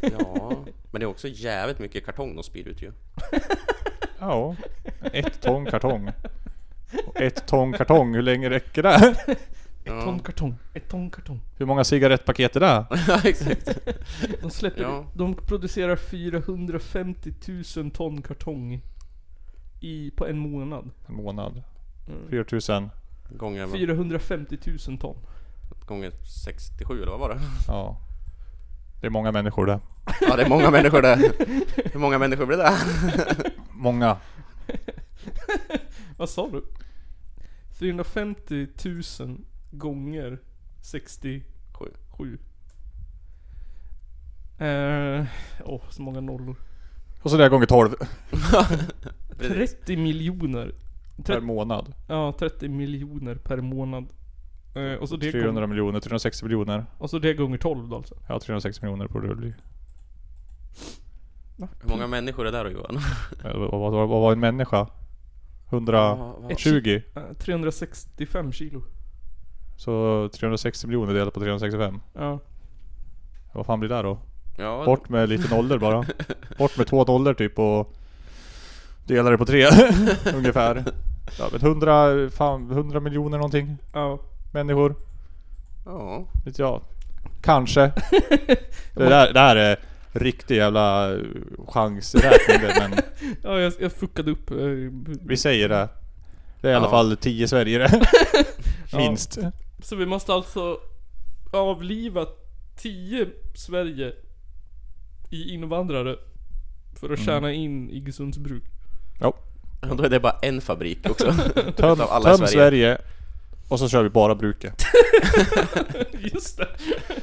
Ja. Men det är också jävligt mycket kartong de spyr ut ju. Ja. Ett ton kartong. Och Ett ton kartong, hur länge räcker det? Ett ton kartong. Ett ton kartong. Hur många cigarettpaket är det? Ja, exakt. De släpper Ja. De producerar 450 000 ton kartong. I, på en månad. En månad. 4000. Gånger, 450 000 ton. gånger 67 eller vad var det? Ja. Det är många människor det. Ja, det är många människor det. Hur många människor blir det? Många. Vad sa du? 350 000 gånger 67. Sju. Eh, Åh, så många nollor. Och så det här gånger 12 Precis. 30 miljoner. per Tre- månad. Ja, 30 miljoner per månad. Eh, och, så det gång, 300 miljoner, 360 miljoner. och så det gånger 12 då alltså. Ja, 360 miljoner borde det bli. Hur många människor är det där då Johan? Eh, Vad, vad, vad var en människa? 120. Eh, 365 kilo. Så 360 miljoner delat på 365. Ja. Vad fan blir det då? Ja, Bort med lite nollor bara. Bort med två nollor typ och dela det på tre ungefär. Ja, men 100, fan, 100 miljoner någonting Ja. människor. Ja. Vet jag. Kanske. Det där, det här är riktig jävla eh, chansräkning det, men Ja, jag, jag fuckade upp. eh, b- vi säger det. Det är i alla Ja. fall 10 Sverige det. Ja. Minst. Så vi måste alltså avliva 10 Sverige i invandrare för Mm. att tjäna in Iggesunds bruk. Då är det bara en fabrik också. Töm, Utav alla i töm Sverige. Sverige. och så kör vi bara bruket. Just det.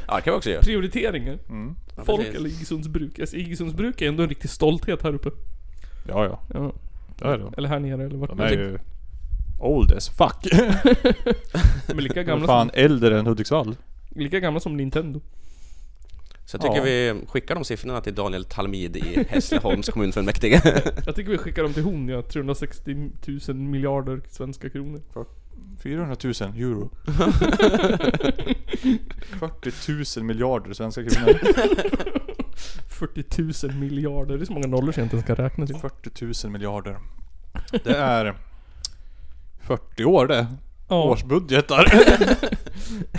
Ja, det kan vi också göra. Prioriteringar. Mm. Ja, Folk precis. eller Iggesunds bruk. Alltså, Iggesunds bruk är ändå en riktig stolthet här uppe. Ja, ja. Ja. Det är de. Eller här nere eller vart De man är tänker. ju old as fuck. De är lika De är gamla, fan som, äldre än Hudiksvall. lika gamla som Nintendo. Så jag tycker vi skickar de siffrorna till Daniel Talmid i Hässleholms kommunfullmäktige. Jag tycker vi skickar dem till hon ja. 360 000 miljarder svenska kronor. 400 000 euro. 40 000 miljarder svenska kronor. 40 000 miljarder. Det är så många nollor så jag inte ens kan räkna till. 40 000 miljarder. Det är 40 år det. Ja. Årsbudgetar.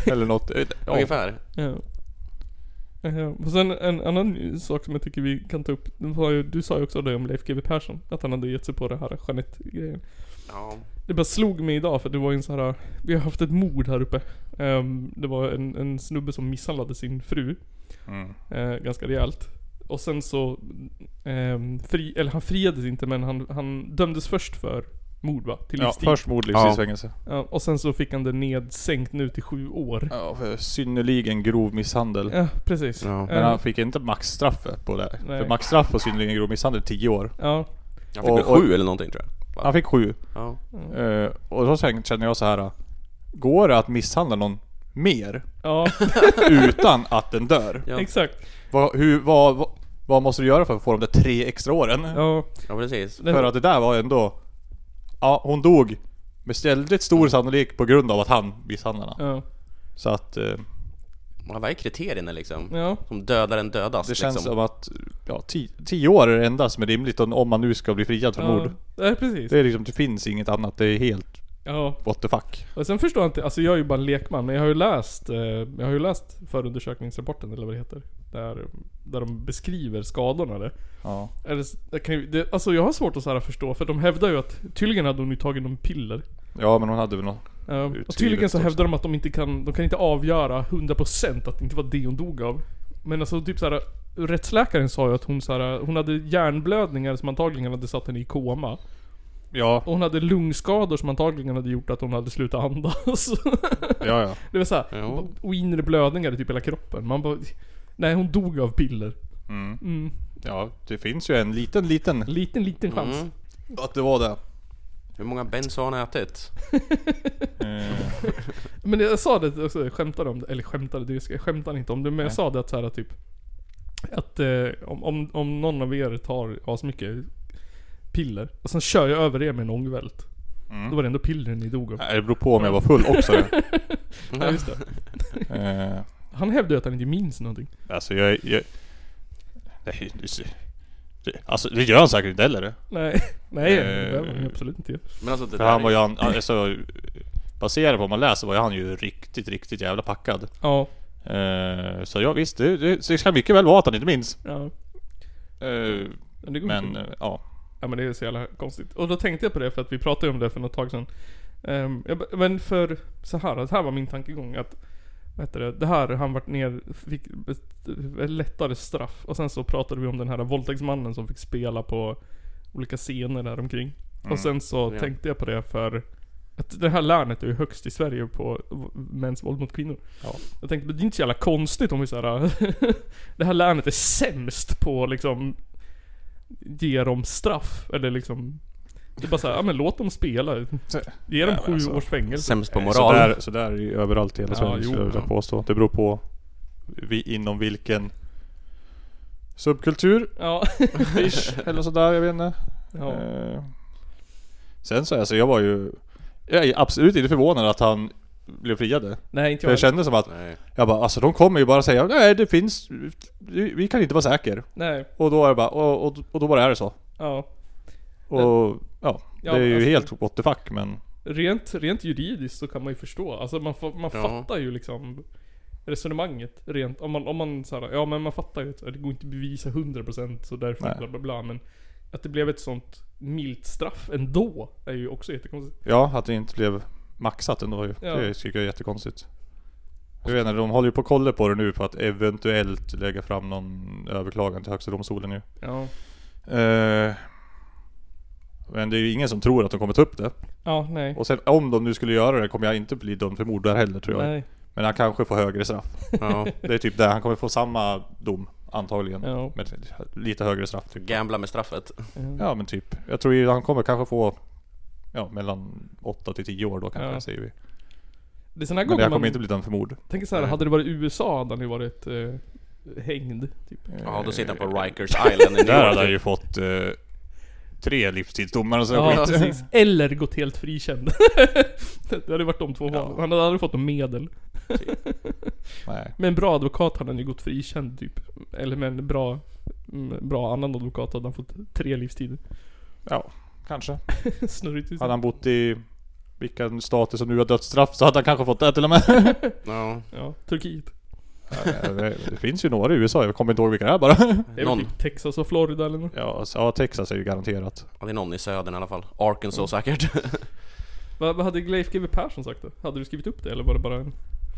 Eller något. Ja. Ungefär. Ja. Eh, Och sen en annan sak som jag tycker vi kan ta upp. det var ju- Du sa ju också det om Leif GW Persson. Att han hade gett sig på det här Jeanette-grejen. Ja. Det bara slog mig idag för det var ju en så här. Vi har haft ett mord här uppe. Ehm, det var en, en snubbe som misshandlade sin fru. Mm. Eh, ganska rejält. Och sen så... ehm, fri, eller han friades inte men han, han dömdes först för mord va? Till Ja, livstid. först mord, Ja. livstids fängelse. Ja, och sen så fick han det nedsänkt nu till sju år. Ja, för synnerligen grov misshandel. Ja, precis. Ja. Men Eh, han fick inte maxstraffet på det. Nej. För maxstraff på synnerligen grov misshandel är 10 år. ja. Han fick väl Och- och- sju eller någonting tror jag. Han fick 7. Ja. Eh, och då sen känner jag så här. Går det att misshandla någon mer Ja, utan att den dör? Ja. exakt. Vad, hur, vad, vad, vad måste du göra för att få de där tre extra åren? Ja, ja, precis. den, För att det där var ändå... Ja, hon dog med väldigt stor sannolik på grund av att han misshandlade henne. ja, Så att eh, Ja, Vad är kriterierna liksom? ja, Som dödar en dödas det känns liksom. som att ja, ti- tio år är det enda som är rimligt om, om man nu ska bli friad från ja. mord. Ja, precis. Det, är liksom, det finns inget annat, det är helt Ja, what the fuck. och sen förstår jag inte, alltså jag är ju bara en lekman, men jag har ju läst, eh, jag har ju läst förundersökningsrapporten eller vad det heter. Där, där de beskriver skadorna där. Ja. Eller, s- det kan ju, det, alltså jag har svårt att så här förstå, för de hävdar ju att tydligen hade hon ju tagit någon piller. ja, men hon hade väl något... Ja, Ur och tydligen så tvivlet hävdar de att de inte kan, de kan inte avgöra 100% att det inte var det hon dog av. Men alltså typ såhär, rättsläkaren sa ju att hon såhär, hon hade hjärnblödningar som antagligen hade satt henne i koma. Ja, Och hon hade lungskador som antagligen hade gjort att hon hade slutat andas. ja, ja. det var såhär, Ja. och inre blödningar i typ hela kroppen. Man bara, nej hon dog av piller. Mm. Mm. Ja, det finns ju en liten, liten... Liten, liten chans. Mm. Att det var det. Hur många bens har han ätit? Eh, Men jag sa det också, jag skämtade om det, eller skämtade, det- jag skämtade inte om det, men jag Nej. sa det att så här typ Att eh, om, om, om någon av er tar asmycket piller och sen kör jag över er med en ångvält Mm. Då var det ändå pillren ni dog av. nej, det beror på om jag var full också. Ja, just det. Eh, Han hävdade ju att han inte minns någonting. Alltså jag... jag nej, du ser. Det, alltså det gör han säkert inte heller. Nej, nej det Eh. behöver han ju absolut inte göra. Men alltså det För där han var är- ju... an- Alltså, baserat på vad man läser var ju han ju riktigt, riktigt jävla packad. Ja, Eh, så ja visst, det, det, det kan mycket väl vara att han inte minns. ja. Eh, Men det går men inte. eh, ja. Ja men det är så jävla konstigt. Och då tänkte jag på det för att vi pratade om det för något tag sedan. Ehm, jag, b- men för så här, det här var min tankegång att vad heter det, det här, han vart ner, fick ett ett lättare straff. Och sen så pratade vi om den här våldtäktsmannen som fick spela på olika scener där omkring. Mm. Och sen så Ja. tänkte jag på det för att det här länet är ju högst i Sverige på v- mäns våld mot kvinnor. Ja. Jag tänkte, men det är inte så jävla konstigt om vi såhär... det här länet är sämst på liksom... Ge dem straff, eller liksom... Det är bara såhär, ja men låt dem spela. Ge dem men sju alltså, års fängelse. Sämst på moral. Så där, så där är ju överallt i hela Ja, Sverige jo, skulle jag vilja ja. påstå. Det beror på vi, inom vilken subkultur Ja. ish, eller sådär, jag vet inte. ja. Eh, Sen så, alltså jag var ju... Jag är absolut inte förvånad att han blev friade. Nej inte För jag jag. kände som att, Nej. jag bara alltså de kommer ju bara säga nej det finns, vi kan inte vara säker. Nej. Och då är det bara, och, och, och då bara är det så. Ja. Och ja, det Ja, är ju alltså- helt what the fuck men... Rent, rent juridiskt så kan man ju förstå. Alltså man, fa- man Ja. fattar ju liksom resonemanget rent. Om man, om man såhär, ja men man fattar ju att det går inte att bevisa 100% så därför Nej. bla bla bla. Men att det blev ett sånt milt straff ändå är ju också jättekonstigt. Ja, att det inte blev maxat ändå ju. Ja. Det tycker jag är jättekonstigt. Jag vet inte, de håller ju på och kollar på det nu för att eventuellt lägga fram någon överklagan till Högsta domstolen nu. Ja. Eh, men det är ju ingen som tror att de kommer ta upp det. Ja, nej. Och sen om de nu skulle göra det kommer jag inte bli dömd för mord där heller tror jag. Nej. Men han kanske får högre straff. Ja. Det är typ där, han kommer få samma dom antagligen. Ja. Men lite högre straff typ. Gambla med straffet. Ja men typ. Jag tror ju han kommer kanske få Ja mellan 8 till 10 år då kanske Ja. säger vi. Det är såna här Men gånger jag man kommer inte bli dömd för mord. tänker såhär, hade det varit USA hade han ju varit eh, hängd. Typ. Ja, då sitter han på Rikers Island i New Där hade han York. ju fått eh, tre livstidsdomar och sådär Ja, skit. precis. Eller gått helt frikänd. det hade varit de två valen. Han hade aldrig fått någon medel. Nej. Med en bra advokat hade han ju gått frikänd typ. Eller med en bra, mm, bra annan advokat hade han fått tre livstider. Ja, kanske. Snurrigt. liksom. Hade han bott i vilken stat som nu har dödsstraff så hade han kanske fått det till och med. Ja. Ja, Turkiet. Eh, det, det finns ju några i USA, jag kommer inte ihåg vilka det är bara. Jag Någon. vet inte, typ Texas och Florida eller något. Ja, så, ja Texas är ju garanterat. Ja, det är någon i södern i alla fall. Arkansas säkert. Vad, vad hade Leif GW Persson sagt då? Hade du skrivit upp det eller var det bara en...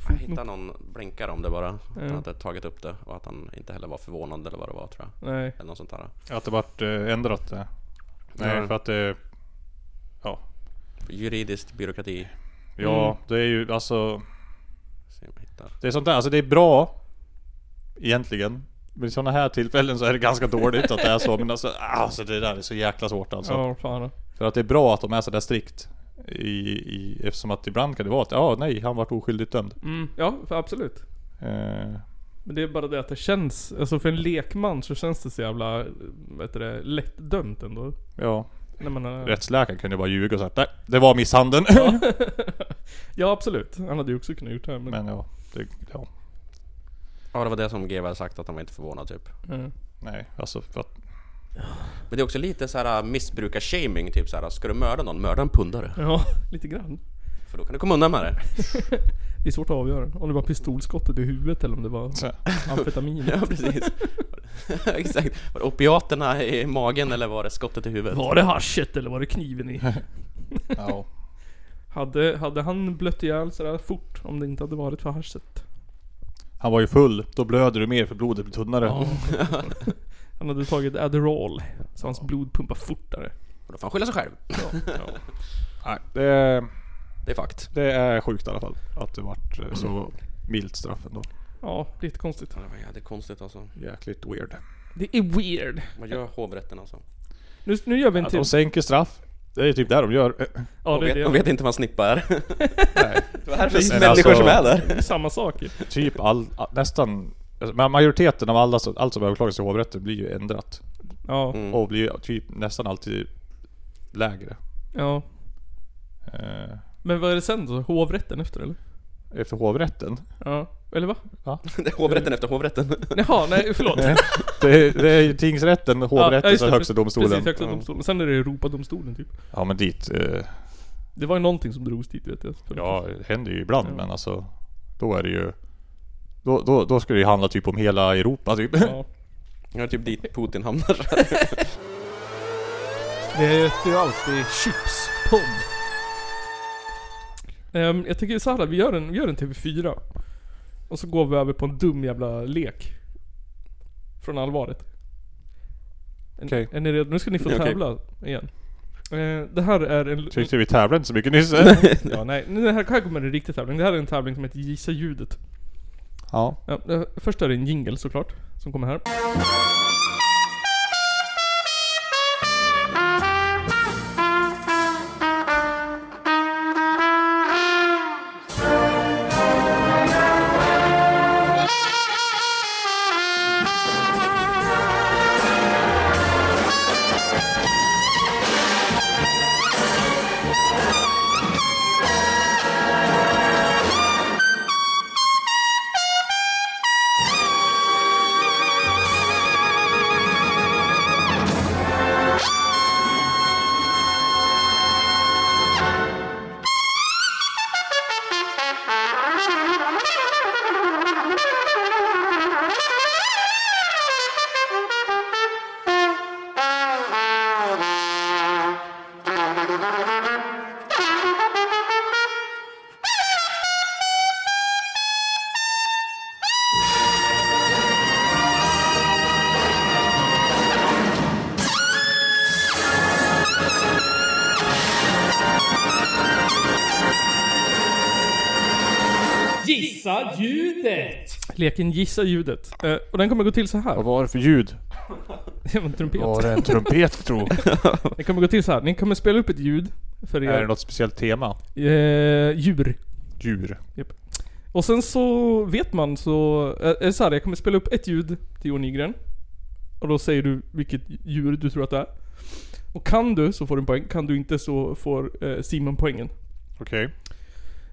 Jag hittade någon blinkare om det bara. Att Han Ja. hade tagit upp det och att han inte heller var förvånad eller vad det var tror jag. Nej. Eller något sånt där. Att det vart eh, ändrat det. Nej, Ja. för att det... Ja, Juridiskt byråkrati. Ja, det är ju alltså... Se om jag hittar. Det är sånt där, alltså det är bra egentligen. Men i sådana här tillfällen så är det ganska dåligt att det är så. Men alltså, alltså det där är så jäkla svårt alltså. Ja, fan. För att det är bra att de är sådär strikt. I, i, eftersom att ibland kan det vara att ja, nej, han vart oskyldigt dömd. Mm, ja, för absolut. Eh, Men det är bara det att det känns, alltså för en lekman så känns det så jävla, vad heter det, lättdömt ändå. ja, När man är... rättsläkaren kunde bara ljuga och säga att nej, det var misshandeln. Ja absolut, han hade ju också kunnat gjort det här men... Men ja, det, ja, Ja, det var det som GW hade sagt att han var inte förvånad typ. Mm. nej, alltså för att, Men det är också lite så här äh, missbrukar-shaming typ så här. Ska du mörda någon, mörda en pundare. Ja, lite grann. För då kan du komma undan med det. Det är svårt att avgöra. Om det var pistolskottet i huvudet eller om det var amfetamin. Ja precis. Exakt. Var det opiaterna i magen eller var det skottet i huvudet? Var det haschet eller var det kniven i? ja. Hade, hade han blött ihjäl sådär fort om det inte hade varit för haschet? Han var ju full, då blöder du mer för blodet blir tunnare. Han hade tagit Adderall, så hans blod pumpar fortare. Då får han skylla sig själv. Nej, det, Det är fakt. det är sjukt i alla fall. Att det vart eh, så milt straff ändå. Ja, lite konstigt. Ja, Det var jävligt konstigt alltså. Jäkligt weird. Det är weird. Vad gör hovrätten alltså? Nu, nu gör vi en Att till. de sänker straff. Det är typ där de gör. Eh, Ja, det De är vet, det. de vet inte vad en snippa är. Nej, Vad är det för Men människor alltså- som är Det där? är samma sak ju. typ all, all- nästan... alltså, Men majoriteten av alla, som- allt som överklagas i hovrätten blir ju ändrat. Ja, Mm. Och blir ju typ nästan alltid lägre. ja. Eh, Men vad är det sen då? Hovrätten efter eller? För hovrätten. Ja. Eller va? Det är hovrätten efter hovrätten. Jaha, nej förlåt. Ja, Det är, det är ju tingsrätten, hovrätten, just sen det. högsta domstolen. Precis, Mm. högsta domstolen. Sen är det Europadomstolen typ. Ja men dit. Eh, Det var ju någonting som drogs dit vet jag. För- Ja, det händer ju ibland men alltså Då är det ju Då, då, då skulle det ju handla typ om hela Europa typ Ja. Det är typ dit Putin hamnar. Det heter ju alltid Chipspodd. Um, jag tycker så här, vi gör en, vi gör en TV4. Och så går vi över på en dum jävla lek. Från allvaret. Är- Okej. Är ni redo? Nu ska ni få Okej. tävla igen. Eh, det här är en... Tyckte vi tävlade inte så mycket nyss Ja, nej, det här, här kommer en riktig tävling. Det här är en tävling som heter Gissa ljudet. Ja Ja, eh, först är det en jingle såklart, som kommer här. Leken Gissa ljudet. Eh, och den kommer gå till så här. Vad var det för ljud? Det var en trumpet. Var det en trumpet tro? Det kommer gå till så här. ni kommer spela upp ett ljud för Är det er något speciellt tema? eh, djur. Djur? Och sen så vet man så, eh, är det så här, jag kommer spela upp ett ljud till Johan Nygren. Och då säger du vilket djur du tror att det är. Och kan du så får du en poäng, kan du inte så får eh, Simon poängen. Okej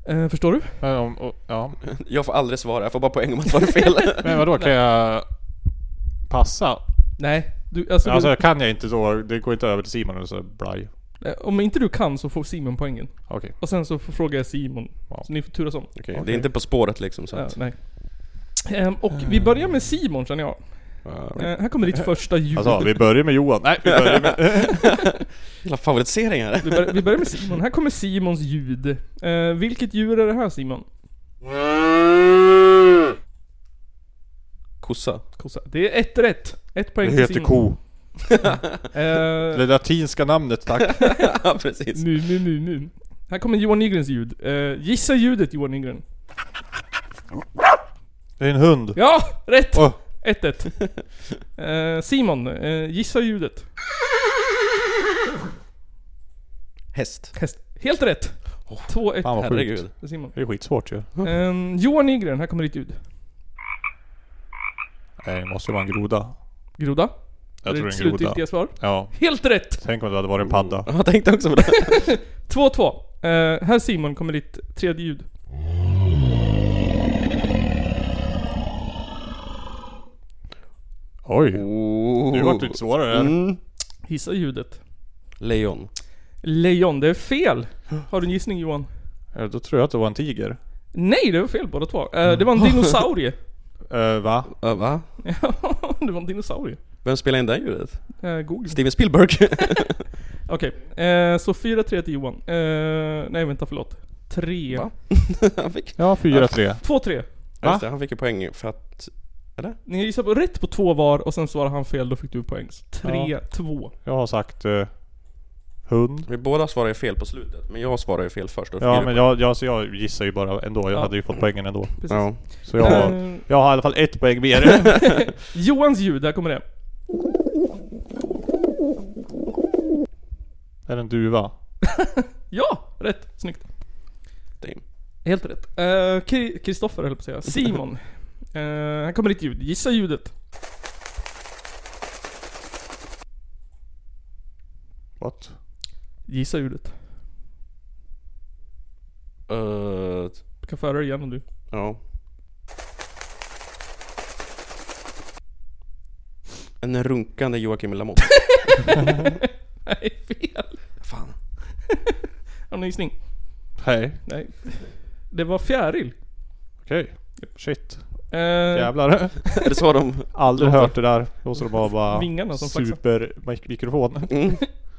Eh, förstår du? Men om, och, ja Jag får aldrig svara, jag får bara poäng om jag svarar fel. Men vadå kan jag Passa? Nej. Du, alltså, Alltså kan jag inte då, det går inte över till Simon eller så blaj du, eh, om inte du kan så får Simon poängen. Okej Och sen så får- frågar jag Simon. Ja. Så ni får turas om. Okej, Det är inte På spåret liksom så Ja, att... nej. Ehm, och vi börjar med Simon känner jag. Eh, här kommer ditt första ljud. Alltså vi börjar med Johan, nej vi börjar med... Jävla favoriseringar. Vi börjar, vi börjar med Simon. Här kommer Simons ljud. Eh, vilket djur är det här Simon? Kossa. Kossa. Det är ett rätt. Ett poäng Det till heter Simon. ko Eh, Det latinska namnet tack Ja precis. Mm. mu, mu, mu, mu. Här kommer Johan Nygrens ljud. Eh, gissa ljudet Johan Nygren. Det är en hund. Ja! Rätt! Åh. 1-1. eh, Simon, eh, gissa ljudet. Häst. Häst. Helt rätt! 2-1 Fan vad sjukt. Herregud. till Simon. Det är skitsvårt ju. Eh, Johan Nygren, här kommer ditt ljud. Nej, det måste ju vara en groda. Groda. Jag Det är tror ditt det är en groda. slutgiltiga svar. Ja. Helt rätt! Tänk om det hade varit en padda. Jag tänkte också på det. 2-2. Eh, här Simon kommer ditt tredje ljud. Oj. Oh. Nu vart det lite svårare här. Mm. Gissa ljudet. Lejon. Lejon, det är fel! Har du en gissning Johan? Eh, Då tror jag att det var en tiger. Nej, det var fel båda två. Eh, det var en Mm. dinosaurie. Eh, va? Ö, va? Ja, det var en dinosaurie. Vem spelar in det här ljudet? Eh, Google. Steven Spielberg. Okej, eh, så 4-3 till Johan. Eh, nej vänta, förlåt. 3. Va? han, fick, Ja, 4-3. 2-3. just det, han fick ju poäng för att... Eller? Ni gissade på rätt på två var och sen svarade han fel, då fick du poäng. Så 3-2. Jag har sagt eh, hund. Vi båda svarade ju fel på slutet, men jag svarade ju fel först. då fick Ja du men poäng. jag, jag, så jag gissar ju bara ändå. Jag Ja. hade ju fått poängen ändå. Precis. Ja. Så jag har, Eh, jag har i alla fall ett poäng mer. Johans ljud, där kommer det. är det en duva? Ja! Rätt. Snyggt. Damn. Helt rätt. Eh, Kri- Kristoffer höll jag på att säga. Simon. Eh, här kommer ditt ljud. Gissa ljudet. What? Gissa ljudet. Ö, Du kan föra det igen om du... ja. En runkande Joakim Lamotte. Nej, fel. Fan. Har ni gissning? Nej. Nej. Det var fjäril. Okej. Shit. Eh, Jävlar. Är det så de... Aldrig hört det där. Då så det bara bara Vingarna som flaxar. supermikrofon. Mm.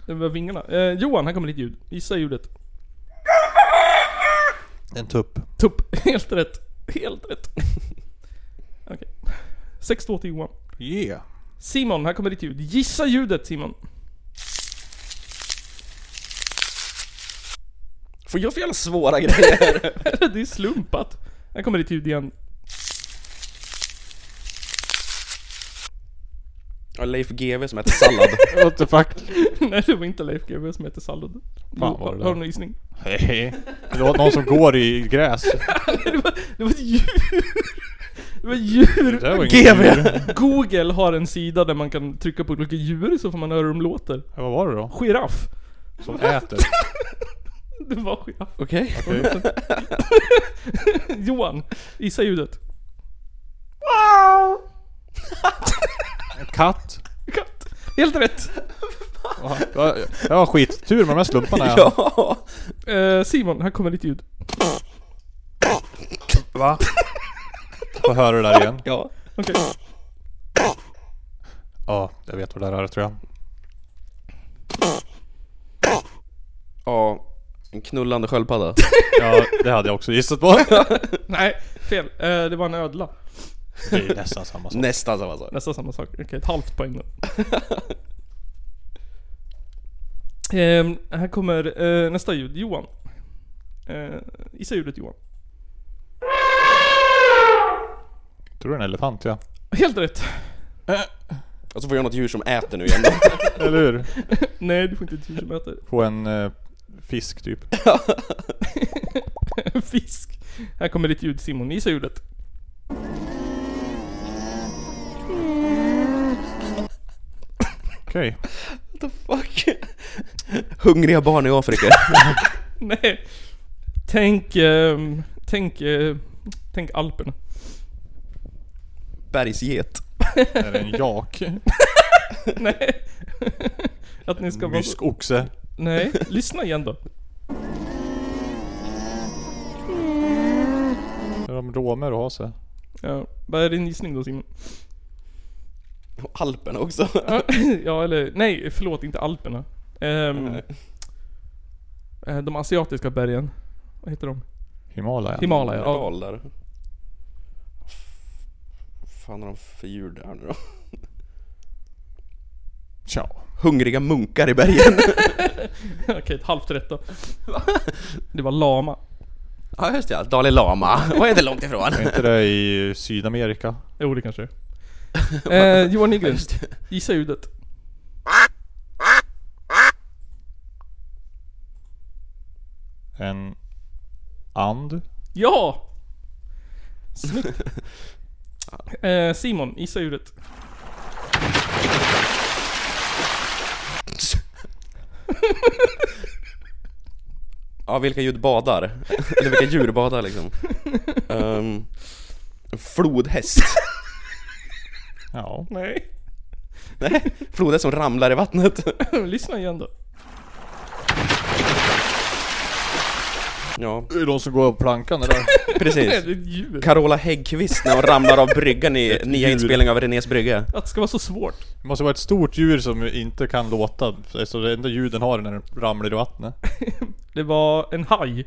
det var vingarna. Eh, Johan, här kommer ditt ljud. Gissa ljudet. En tupp. Tupp. Helt rätt. Helt rätt. Okej. 6-2 till Johan. Yeah. Simon, här kommer ditt ljud. Gissa ljudet Simon. Får jag för jävla svåra grejer? det är slumpat. Här kommer ditt ljud igen. Ja, Leif GW som äter sallad. What the fuck? Nej, det var inte Leif GW som hette Sallad. Fan var det Har du där. någon gissning? Nej. Det var någon som går i gräs. Det var, det var ett djur! Det var ett djur! Det var inget djur. Google har en sida där man kan trycka på olika djur så får man höra hur de låter. Ja, Vad var det då? Giraff! Som äter? Det var giraff. Okej. Okej. Johan, gissa ljudet. En katt? Katt. Helt rätt! Ja, Jag jag har skittur med de här slumparna jag Ja. Eh, Simon, här kommer ditt ljud. Va? Får höra det där igen. Ja. Okej. Ja, jag vet vad det där är tror jag. Ja. En knullande sköldpadda. Ja, det hade jag också gissat på. Nej, fel. Eh, det var en ödla. Det är nästan samma sak. Nästan samma sak. Nästan samma sak. Okej, ett halvt poäng då. Ehm, här kommer eh, nästa ljud. Johan. Eh, gissa ljudet Johan. Tror du en elefant ja? Helt rätt. Och så Alltså, får jag något djur som äter nu igen. Eller hur? Nej, du får inte ett djur som äter. På en eh, fisk typ. Fisk. Här kommer ditt ljud Simon. Gissa ljudet. Okej. What the fuck? Hungriga barn i Afrika. Nej. Tänk, ehm, tänk, eh, tänk Alperna. Bergsget. Är det en jak? Nej. Att ni ska En vara... myskoxe? Nej, lyssna igen då. Är de romer och hase? Ja, vad är din gissning då Simon? Och Alperna också. ja eller, nej förlåt inte Alperna. Ehm, Nej. eh, de asiatiska bergen. Vad heter de? Himalaya? Himalaya. Ja. Dal där. Vad fan har de för djur där nu då? Tja. Hungriga munkar i bergen. Okej, ett halvt rätt då. Det var lama. ja, just det. ja. Dalai Lama. Var inte långt ifrån. Är inte det i Sydamerika? Jo, det kanske är. Eh, Johan Nygren, Just det. gissa ljudet. En and? Ja! Snyggt. Eh, Simon, gissa ljudet. Ja, vilka ljud badar? Eller vilka djur badar liksom? Ehm, en flodhäst. Ja. Nej. Nej, flodhäst som ramlar i vattnet. Lyssna igen då. Ja, Det är de som går av plankan eller? Nej, precis. det är ett djur. Carola Häggkvist när hon ramlar av bryggan i nya djur. inspelning av Renés brygga. Att det ska vara så svårt. Det måste vara ett stort djur som inte kan låta. Så det enda ljuden har är när den ramlar i vattnet. Det var en haj.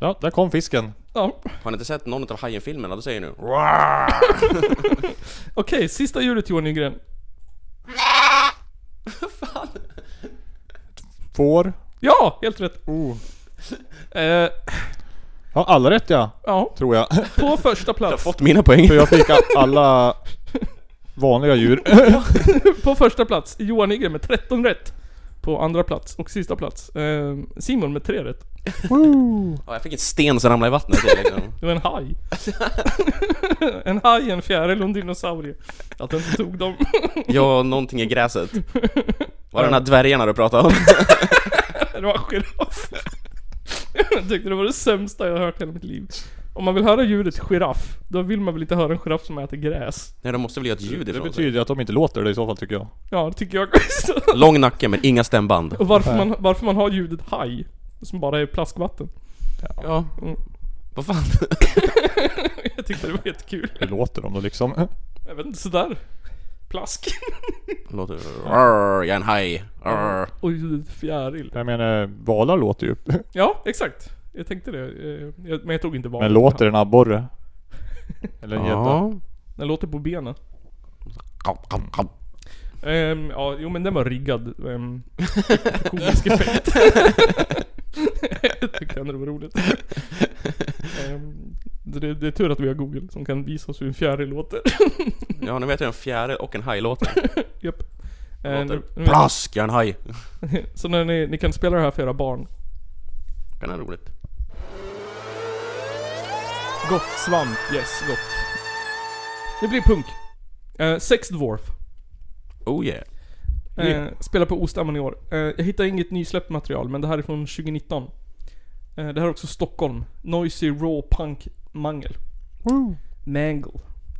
Ja, där kom fisken. Ja. Har ni inte sett någon av Hajen-filmerna? Då säger ni Okej, sista ljudet Johan Nygren. Får. Ja, helt rätt. Oh. Eh, Ja, alla rätt ja. ja, Tror jag. på första Jag har plats. fått mina poäng. För jag fick a- alla vanliga djur. På första plats, Johan Nygren med 13 rätt. På andra plats och sista plats, eh, Simon med 3 rätt. Ja, jag fick en sten som ramlade i vattnet. det är Liksom. Det var en haj. en haj, en fjäril och en dinosaurie. Att jag inte tog dem. Ja, någonting i gräset. Var det de här dvärgarna du pratade om? Det var en giraff. Jag tyckte det var det sämsta jag har hört i hela mitt liv. Om man vill höra ljudet giraff, då vill man väl inte höra en giraff som äter gräs? Nej, de måste väl göra ett ljud Det ifrån sig? betyder ju att de inte låter det i så fall tycker jag. Ja, det tycker jag också. Lång nacke men inga stämband. Och varför man, varför man har ljudet haj, som bara är plaskvatten. Ja. Mm. Vad fan? Jag tyckte det var jättekul. Hur låter de då liksom? Jag vet inte, sådär. Plask. Låter... Arr, jag är en haj. Arr. Och ljudet fjäril. Jag menar, valar låter ju. Ja, exakt. Jag tänkte det. Eh, jag- Men jag tog inte Men vanligt. låter en abborre? Eller en gädda? Ja. Den låter på benen. Ehm, ja, jo men den var riggad. Um, komisk effekt. jag tyckte ändå det var roligt. Ehm, det, det är tur att vi har Google som kan visa oss hur en fjäril låter. Ja, nu vet jag en fjäril och en haj låter. Japp. Ehm, Låter nu- nu- Plask, jag är en haj. så när ni, ni kan spela det här för era barn. Kan vara roligt. Gott svamp, yes gott. Det blir punk. Uh, sex Dwarf. Oh yeah. Eh, Spelar på Ostämman i år. Eh, jag hittar inget nysläppt material, men det här är från 2019. Eh, det här är också Stockholm. Noisy Raw Punk Mangel. Mangle.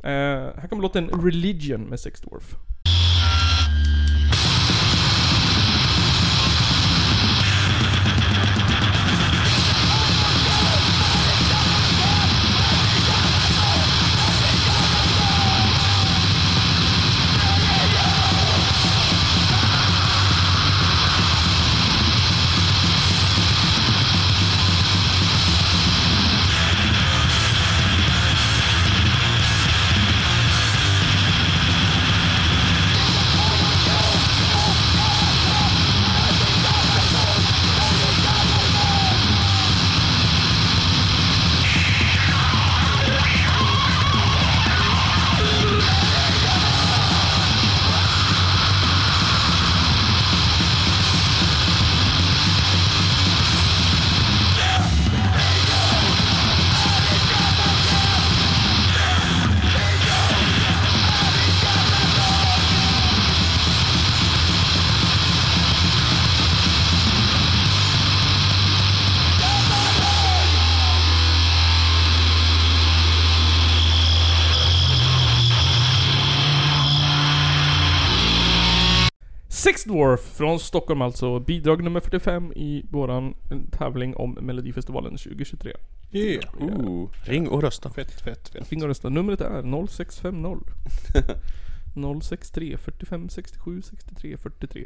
Eh, här kommer låten Religion med Sex Dwarf. Sex Dwarf från Stockholm alltså. Bidrag nummer 45 i våran eh, tävling om Melodifestivalen 2023. Yeah. Ooh. Ring och rösta. Fett, fett, fett. Ring och rösta. Numret är 0650 063 45 67 63 43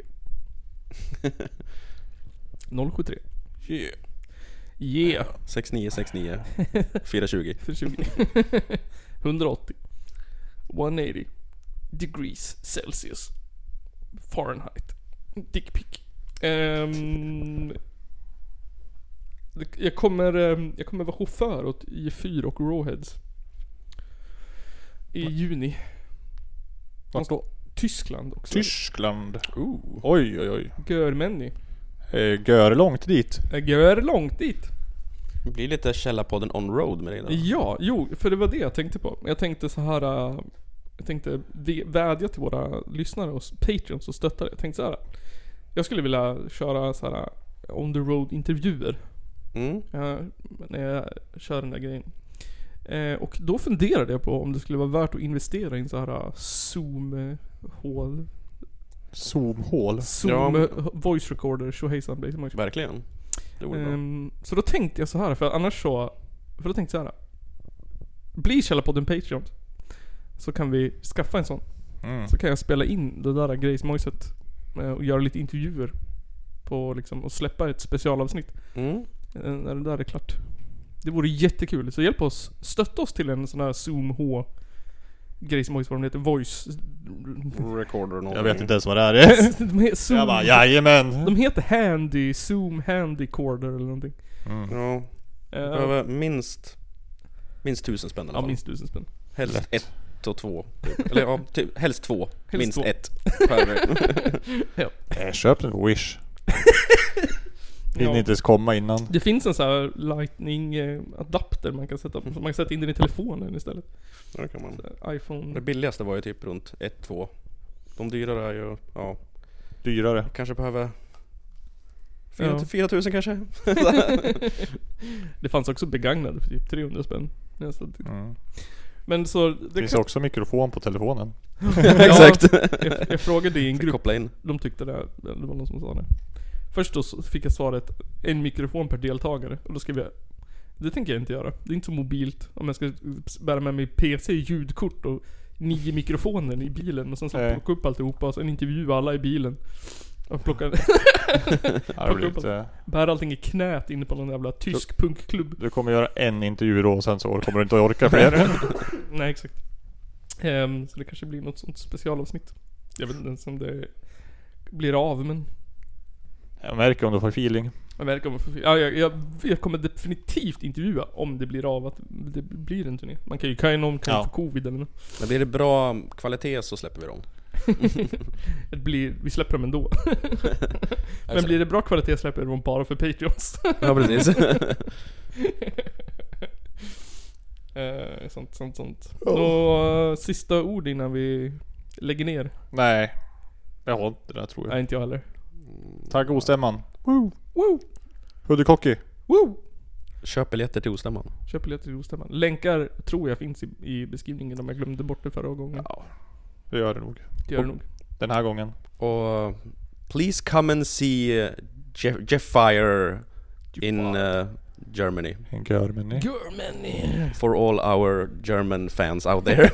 073 Yeah. Yeah! 6969 420. För 20. 180 180 degrees Celsius Fahrenheit. Dick pic. Ehm, det- jag, kommer, ehm, jag kommer vara chaufför åt IF4 och Rawheads. I juni. Vart då? Tyskland också. Tyskland. Oj oj oj. Görmänny. Eh, Gör långt dit. Eh, Gör långt dit. Det blir lite Källarpodden on road med dig då. Ja, jo, för det var det jag tänkte på. Jag tänkte så här. äh, Jag tänkte vä- vädja till våra lyssnare och s- patreons och stöttare. Jag tänkte så här. Jag skulle vilja köra så här äh, on the road intervjuer. Mm. äh, När jag kör den där grejen. Eh, Och då funderade jag på om det skulle vara värt att investera i en så här äh, zoom-hål. Zoomhål. Zoom Ja. äh, voice recorder, tjohejsan blejsan. Verkligen. Det vore bra. Ehm, så då tänkte jag så här, för annars så... För då tänkte jag så här. Bli Källarpodden Patreon. Så kan vi skaffa en sån. Mm. Så kan jag spela in det där grejsmojset. eh, Och göra lite intervjuer. På liksom, och släppa ett specialavsnitt. Mm. eh, När det där är klart. Det vore jättekul. Så hjälp oss. Stötta oss till en sån här Zoom H. Grejsmojs, vad de heter. Voice... Recorder någonting. Jag vet inte ens vad det här är. De heter, Zoom, Jag bara jajamän. de heter Handy, Zoom Handy Corder eller någonting. Ja, Eh, behöver minst, minst tusen spänn i alla ja, fall. minst tusen spänn. Helst ett och två. typ. Eller ja, typ, helst två. minst två. ett. Per. Eh, Köp den på Wish. Hinner Ja. inte ens komma innan. Det finns en sån här lightning eh, adapter man kan sätta på, så man kan sätta in den i telefonen istället. Ja, det kan man. Det iPhone. billigaste var ju typ runt ett, två. De dyrare är ju, ja, Dyrare. kanske behöver Ja. 4, 4 000 kanske? Det fanns också begagnade för typ 300 spänn. Ja, så att- Mm. Men så... Det Det finns kan, också mikrofon på telefonen. Exakt. jag, jag frågade i en grupp, Koppla in. de tyckte det, det var någon som sa det. Först då så fick jag svaret en mikrofon per deltagare och då skrev jag Det tänker jag inte göra. Det är inte så mobilt om jag ska bära med mig PC, ljudkort och nio mikrofoner i bilen och sen så Nej. plocka upp alltihopa och sen intervjua alla i bilen. Och plocka, Ja, det blir upp lite- Bär allting i knät inne på någon jävla tysk punkklubb. Du kommer göra en intervju då och sen så kommer du inte att orka fler. Nej, exakt. Ehm, så det kanske blir något sånt specialavsnitt. Jag vet inte ens om det blir av, men Jag märker om du får feeling. jag verkar vara för... ja, jag, jag, jag kommer definitivt intervjua om det blir av att det blir en turné. Man kan ju, kan ju någon kan ju Ja. få covid eller något. Men blir det bra kvalitet så släpper vi dem. Det blir, vi släpper dem ändå. men blir det bra kvalitet släpper vi dem bara för Patreons. Ja precis. Eh, sånt, sånt, sånt. Och eh, sista ord innan vi lägger ner. Nej. Jag har inte det där, tror jag. Nej, inte jag heller. Tack ostämman. Woo! Huddekocky. Woo! Köp biljetter till Ostämman. Köp biljetter till Ostämman. Länkar tror jag finns i, i beskrivningen om jag glömde bort det förra gången. Det gör det nog. det gör det nog. Den här gången. Och uh, please come and see uh, Jeff, Jeff Fire in uh, Germany. En görmeny. Germany! For all our German fans out there.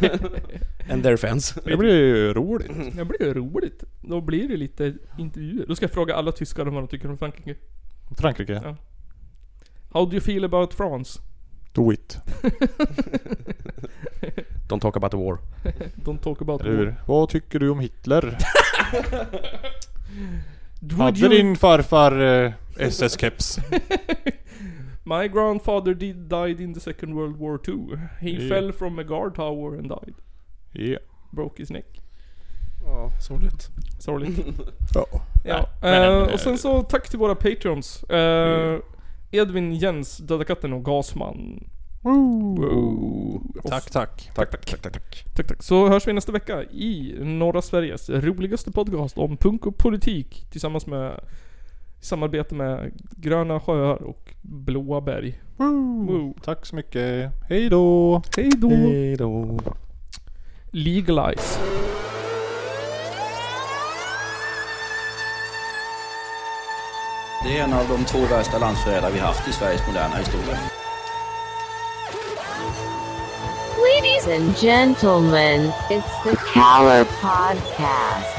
And their fans. Det blir ju roligt. Det blir ju roligt. Då blir det lite intervjuer. Då ska jag fråga alla tyskar om vad de tycker om Frankrike. Frankrike. Ja. How do you feel about France? Do it. Don't talk about the war. Don't talk about Eller hur? Vad tycker du om Hitler? Would Hade you... din farfar eh, SS-keps? My grandfather did died in the second world war too. He Ja. fell from a guard tower and died. Ja. Broke his neck. Ja, sorgligt. Sorgligt. Ja. Ja, men, Mm. eh, och sen så tack till våra patreons. Eh, Edvin, Jens, Döda katten och Gasman. Och- Tack, tack. Tack, tack, tack, tack, tack. tack, tack. Så hörs vi nästa vecka i norra Sveriges roligaste podcast om punk och politik tillsammans med i samarbete med Gröna sjöar och Blåa berg. Woo. Tack så mycket. Hej då. Hej då! Hej då. Legalize. Det är en av de två värsta landsförrädare vi haft i Sveriges moderna historia. Ladies and gentlemen, it's the Caller Podcast.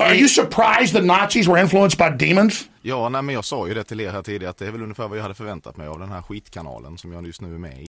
Are you surprised the Nazis were influenced by demons? Ja, nej men jag sa ju det till er här tidigare att det är väl ungefär vad jag hade förväntat mig av den här skitkanalen som jag just nu är med i.